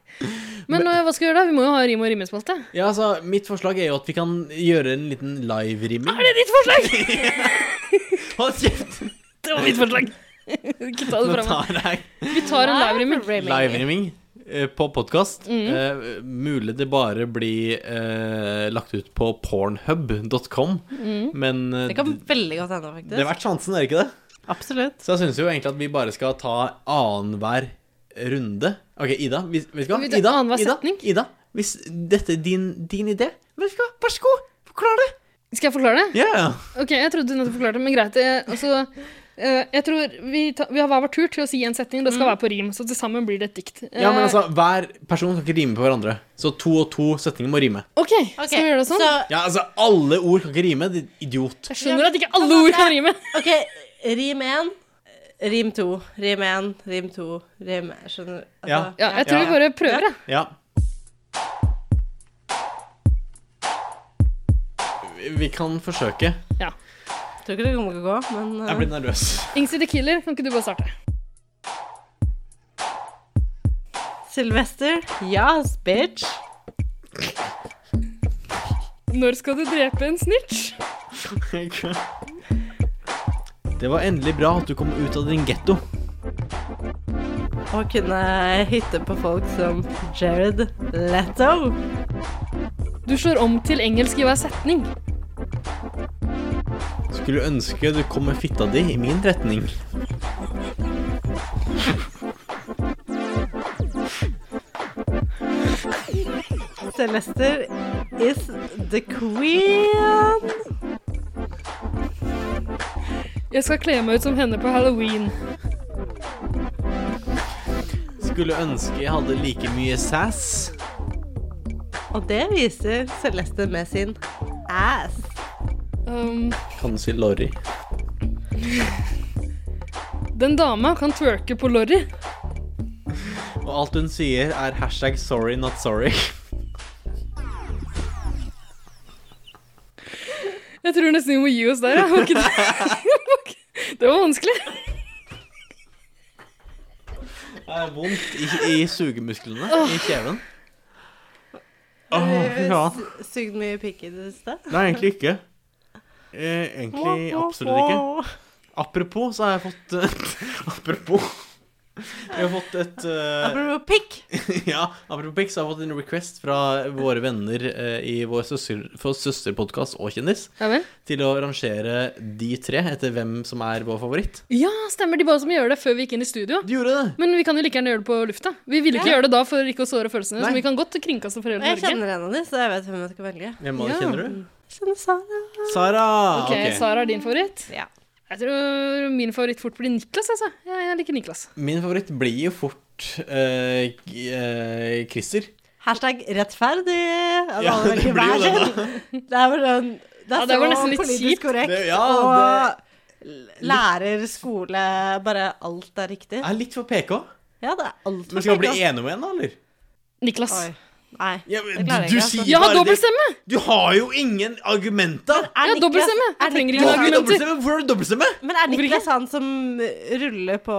S4: Men, eh, hva skal vi gjøre da? Vi må jo ha rim- og rimespalte.
S5: Ja, altså, Mitt forslag er jo at vi kan gjøre en liten live-rimming.
S4: Er det ditt forslag?
S5: Hold kjeft!
S4: Det var mitt forslag. Ikke ta det
S5: Nå
S4: fra
S5: tar jeg
S4: meg. Vi tar en live-rimming.
S5: Live-rimming eh, på podkast.
S4: Mm.
S5: mulig det bare blir eh, lagt ut på pornhub.com,
S1: Mm.
S5: men eh,
S1: Det kan veldig godt hende, faktisk.
S5: det er verdt sjansen, er det ikke det?
S1: Absolutt.
S5: Så jeg syns jo egentlig at vi bare skal ta annenhver runde. OK, Ida. Vi, vet du hva?
S4: Vi tar
S5: Ida,
S4: annenhver
S5: Ida,
S4: setning.
S5: Ida, hvis dette er din, din idé, vet du hva, vær så god, forklar det!
S4: Skal jeg forklare det?
S5: Ja!
S4: Ok, jeg trodde du nettopp forklarte, men greit. eh, Altså, eh, jeg tror vi, ta, vi har hver vår tur til å si en setning. Det skal være på rim, så til sammen blir det et dikt.
S5: Ja, men
S4: Eh,
S5: altså, Hver person kan ikke rime på hverandre, så to og to setninger må rime.
S4: Eh, Ok, skal vi gjøre det sånn?
S5: Ja, altså, Alle ord kan ikke rime, din idiot.
S4: jeg skjønner at ikke alle ord kan rime.
S1: Ok, rim én, rim to, rim én, rim to, rim Skjønner altså, du?
S5: Ja.
S4: Ja, jeg tror vi bare prøver, jeg.
S5: Ja. Vi kan forsøke.
S4: Ja.
S1: Tror ikke det kommer til å gå, men eh,
S5: Jeg blir nervøs.
S4: Ingsy the Killer, kan ikke du bare starte?
S1: Sylvester. Yes, bitch.
S4: Når skal du drepe en snitch?
S5: Det var endelig bra at du kom ut av din getto.
S1: Å kunne hytte på folk som Jared Leto.
S4: Du slår om til engelsk i hver setning.
S5: Skulle ønske du kom med fitta di i min retning.
S1: Sylvester is the queen.
S4: Jeg skal kle meg ut som henne på halloween.
S5: Skulle ønske jeg hadde like mye sass.
S1: Og det viser Celeste med sin ass.
S4: Um,
S5: Kan du si Lorry?
S4: den dama kan twerke på Lorry.
S5: Og alt hun sier, er hashtag sorry not sorry.
S4: Jeg tror nesten vi må gi oss der. Ja. Var ikke det? det var vanskelig.
S5: Det er vondt i, i sugemusklene i kjeven.
S1: Har
S5: Åh,
S1: du
S5: ja.
S1: s- Sugd mye pikk i det siste?
S5: Nei, egentlig ikke. Eh, egentlig absolutt ikke. Apropos, så har jeg fått eh, Apropos. Jeg har fått et eh,
S1: Apropos pikk.
S5: ja, apropos pikk, så har jeg fått en request fra våre venner eh, i vår søster, for søsterpodkast og kjendis
S4: Ja vel?
S5: til å rangere de tre etter hvem som er vår favoritt.
S4: Ja, stemmer. De ba oss om å gjøre det før vi gikk inn i studio. Men vi kan jo like gjerne gjøre det på lufta. Vi ville ikke
S1: Ja.
S4: gjøre det da for ikke å såre følelsene.
S1: Nei.
S4: Så vi kan godt kringkaste for hele
S1: Jeg
S4: Norge.
S1: kjenner en av dem, så jeg vet hvem jeg skal velge.
S5: Hvem av de
S4: Ja.
S5: kjenner du?
S1: Jeg Kjenner Sara.
S5: Sara!
S4: Ok, Sara er din favoritt?
S1: Ja.
S4: Jeg tror min favoritt fort blir Niklas, altså. Jeg, jeg liker Niklas.
S5: Min favoritt blir jo fort eh, k- eh, Christer.
S1: Hashtag rettferdig. At
S5: Ja,
S1: alle
S5: det
S1: velger
S5: blir jo
S1: hver
S5: det,
S1: sin. Det er vel sånn Det
S4: Ja,
S1: er
S4: det var
S1: så
S4: nesten litt
S1: politisk
S4: kjipt.
S1: korrekt.
S5: Det- ja,
S1: og lærer, skole Bare alt er riktig.
S5: Er litt for PK.
S1: Ja, det er alt
S5: Men skal vi bli
S1: riktig,
S5: enige om en, da, eller?
S1: altså.
S4: Niklas.
S1: Oi. Nei,
S5: du-
S1: det klarer jeg
S5: du
S1: ikke.
S5: sier
S4: Jeg altså. har
S5: bare det.
S4: dobbeltstemme!
S5: Du har jo ingen argumenter!
S1: Er
S4: Jeg har
S1: Niklas-
S4: dobbeltstemme!
S1: er
S4: Jeg trenger
S5: Du
S4: ikke
S5: har ikke
S4: argumenter.
S5: dobbeltstemme! Hvorfor har du dobbeltstemme?
S1: Men er Niklas han som ruller på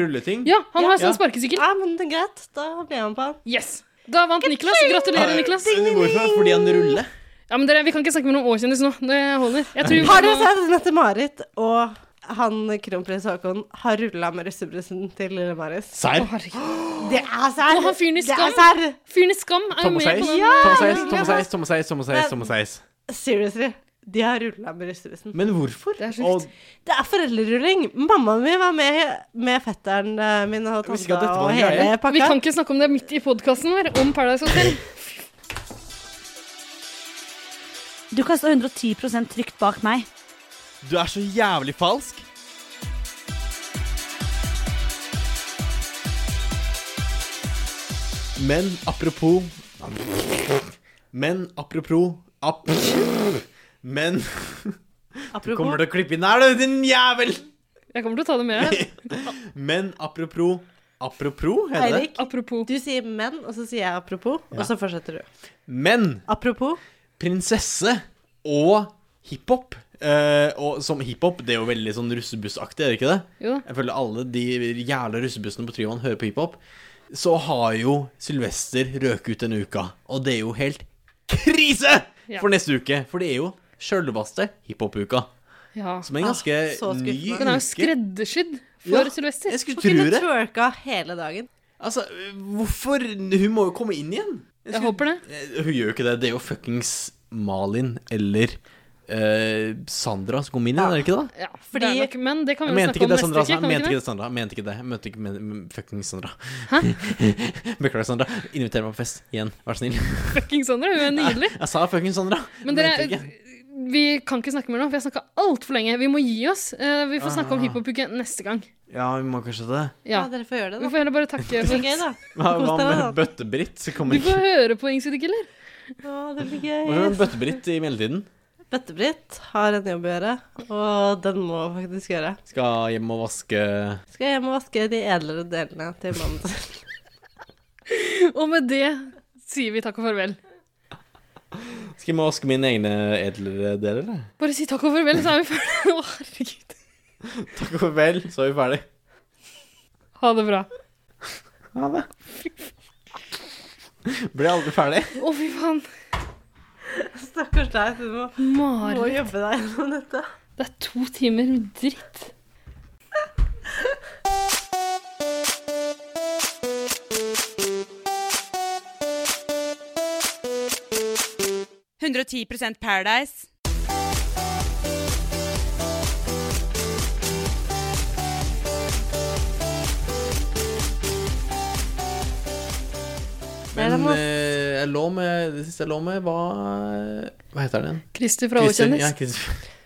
S5: Rulleting?
S4: Ja, han har
S5: Ja.
S4: sånn sparkesykkel.
S1: Ja, men det er greit. Da blir jeg med på han.
S4: Yes. Da vant Niklas. Gratulerer, Niklas.
S5: Hvorfor? Fordi han ruller?
S4: Ja, men dere, Vi kan ikke snakke med noen Å-kjendis nå. Det holder. Jeg tror vi
S1: Har dere
S4: må-
S1: sett Mette-Marit og han kronprins Haakon har rulla med russebrusen til lille Marius?
S5: Serr?
S1: Å, herregud. Det er serr!
S4: Og han fyren i
S1: Det er
S4: Skam.
S1: serr!
S4: Fyren i Skam er jo
S5: Thomas
S4: med
S5: Hayes,
S4: på den.
S5: Thomas Hayes, Thomas Hayes, Thomas Hayes, Thomas Hayes, Thomas Hayes.
S1: Seriously. De har rulla med russebrusen.
S5: Men hvorfor?
S4: Det er
S5: Og
S1: Det er foreldrerulling. Mammaen min var med, med fetteren eh, min og
S5: visste ikke
S1: tanta
S5: at dette var
S1: og
S5: en
S1: hele
S5: greie.
S1: pakka.
S4: Vi kan ikke snakke om det midt i podkasten vår om Paradise Hotel.
S18: Du kan stå 110 trygt bak meg.
S5: du er så jævlig falsk. Men apropos Men apropos ap Men Du kommer til å klippe inn her, du, din jævel!
S4: Jeg kommer til å ta det med.
S5: Men apropos Apropos, heter det?
S1: Eirik, du sier men, og så sier jeg apropos, og så fortsetter du.
S5: Men
S1: Apropos
S5: prinsesse og hiphop eh, Og som hiphop, det er jo veldig sånn russebussaktig, er det ikke det?
S4: Jo da.
S5: Jeg føler alle de jævla russebussene på Tryvann hører på hiphop. Så har jo Sylvester røket ut denne uka, og det er jo helt krise
S4: Ja.
S5: for neste uke! For det er jo sjølveste hiphop-uka.
S4: Ja.
S5: Som er en ganske
S1: Ah, så skuffende.
S5: ny
S4: Den er jo
S5: uke.
S4: skreddersydd
S5: Ja,
S4: for Sylvester.
S5: jeg skulle
S1: Hun
S5: tro
S1: kunne
S5: det.
S1: twerka hele dagen.
S5: Altså, hvorfor Hun må jo komme inn igjen. Jeg,
S4: håper det.
S5: Hun gjør jo ikke det. Det er jo fuckings Malin eller eh, Sandra som kom inn igjen, er det ikke det?
S4: Ja, Fordi, det er nok, men det kan vi
S5: Jeg
S4: vel
S5: mente
S4: snakke
S5: ikke
S4: om
S5: det,
S4: neste
S5: Sandra.
S4: uke.
S5: altså. Jeg
S4: kan vi
S5: mente
S4: ikke
S5: ikke det, Sandra. Jeg mente ikke det. Jeg mente ikke men, men, fuckings Sandra. Beklager, Sandra. Inviter meg på fest igjen, vær så snill.
S4: Fucking Sandra, hun er nydelig.
S5: Jeg sa fuckings Sandra.
S4: Men
S5: mente
S4: dere,
S5: ikke.
S4: vi kan ikke snakke mer nå, for jeg snakka altfor lenge. Vi må gi oss. Eh, Vi får snakke
S5: Ah.
S4: om hiphop-uke neste gang.
S5: Ja, vi må kanskje det.
S4: Ja.
S1: dere får gjøre det, da.
S4: Vi får heller bare takke
S1: Det
S4: for
S1: blir gøy, da.
S5: Hva, hva
S1: Kos dere,
S5: med
S1: da.
S5: Bøtte-Britt? Så
S4: Du
S5: kommer
S4: får
S5: ikke
S4: høre på Ingsy the Killer.
S1: Å, det blir
S5: Hva skjer
S1: gøy.
S5: med Bøtte-Britt i mellomtiden?
S1: Bøtte-Britt har en jobb å gjøre, og den må hun faktisk gjøre.
S5: Skal hjem og vaske
S1: Skal jeg hjem og vaske de edlere delene til mannen sin.
S4: Og med det sier vi takk og farvel.
S5: Skal jeg må vaske mine egne edlere deler, eller?
S4: Bare si takk og farvel, så er vi ferdige. Å, herregud.
S5: Takk og farvel, så er vi ferdig.
S4: Ha det bra.
S5: Ha det. Ble aldri ferdig.
S4: Å, fy faen.
S1: Stakkars deg, du må,
S4: Marit.
S1: må jobbe deg gjennom dette.
S4: Det er to timer med dritt.
S2: Paradise.
S5: Men
S4: Nei, det må-
S5: eh, jeg lå med, det siste jeg lå med, var Hva heter den igjen?
S4: Christer fra
S5: Christer-
S4: Åkjendis.
S5: Ja, Christer.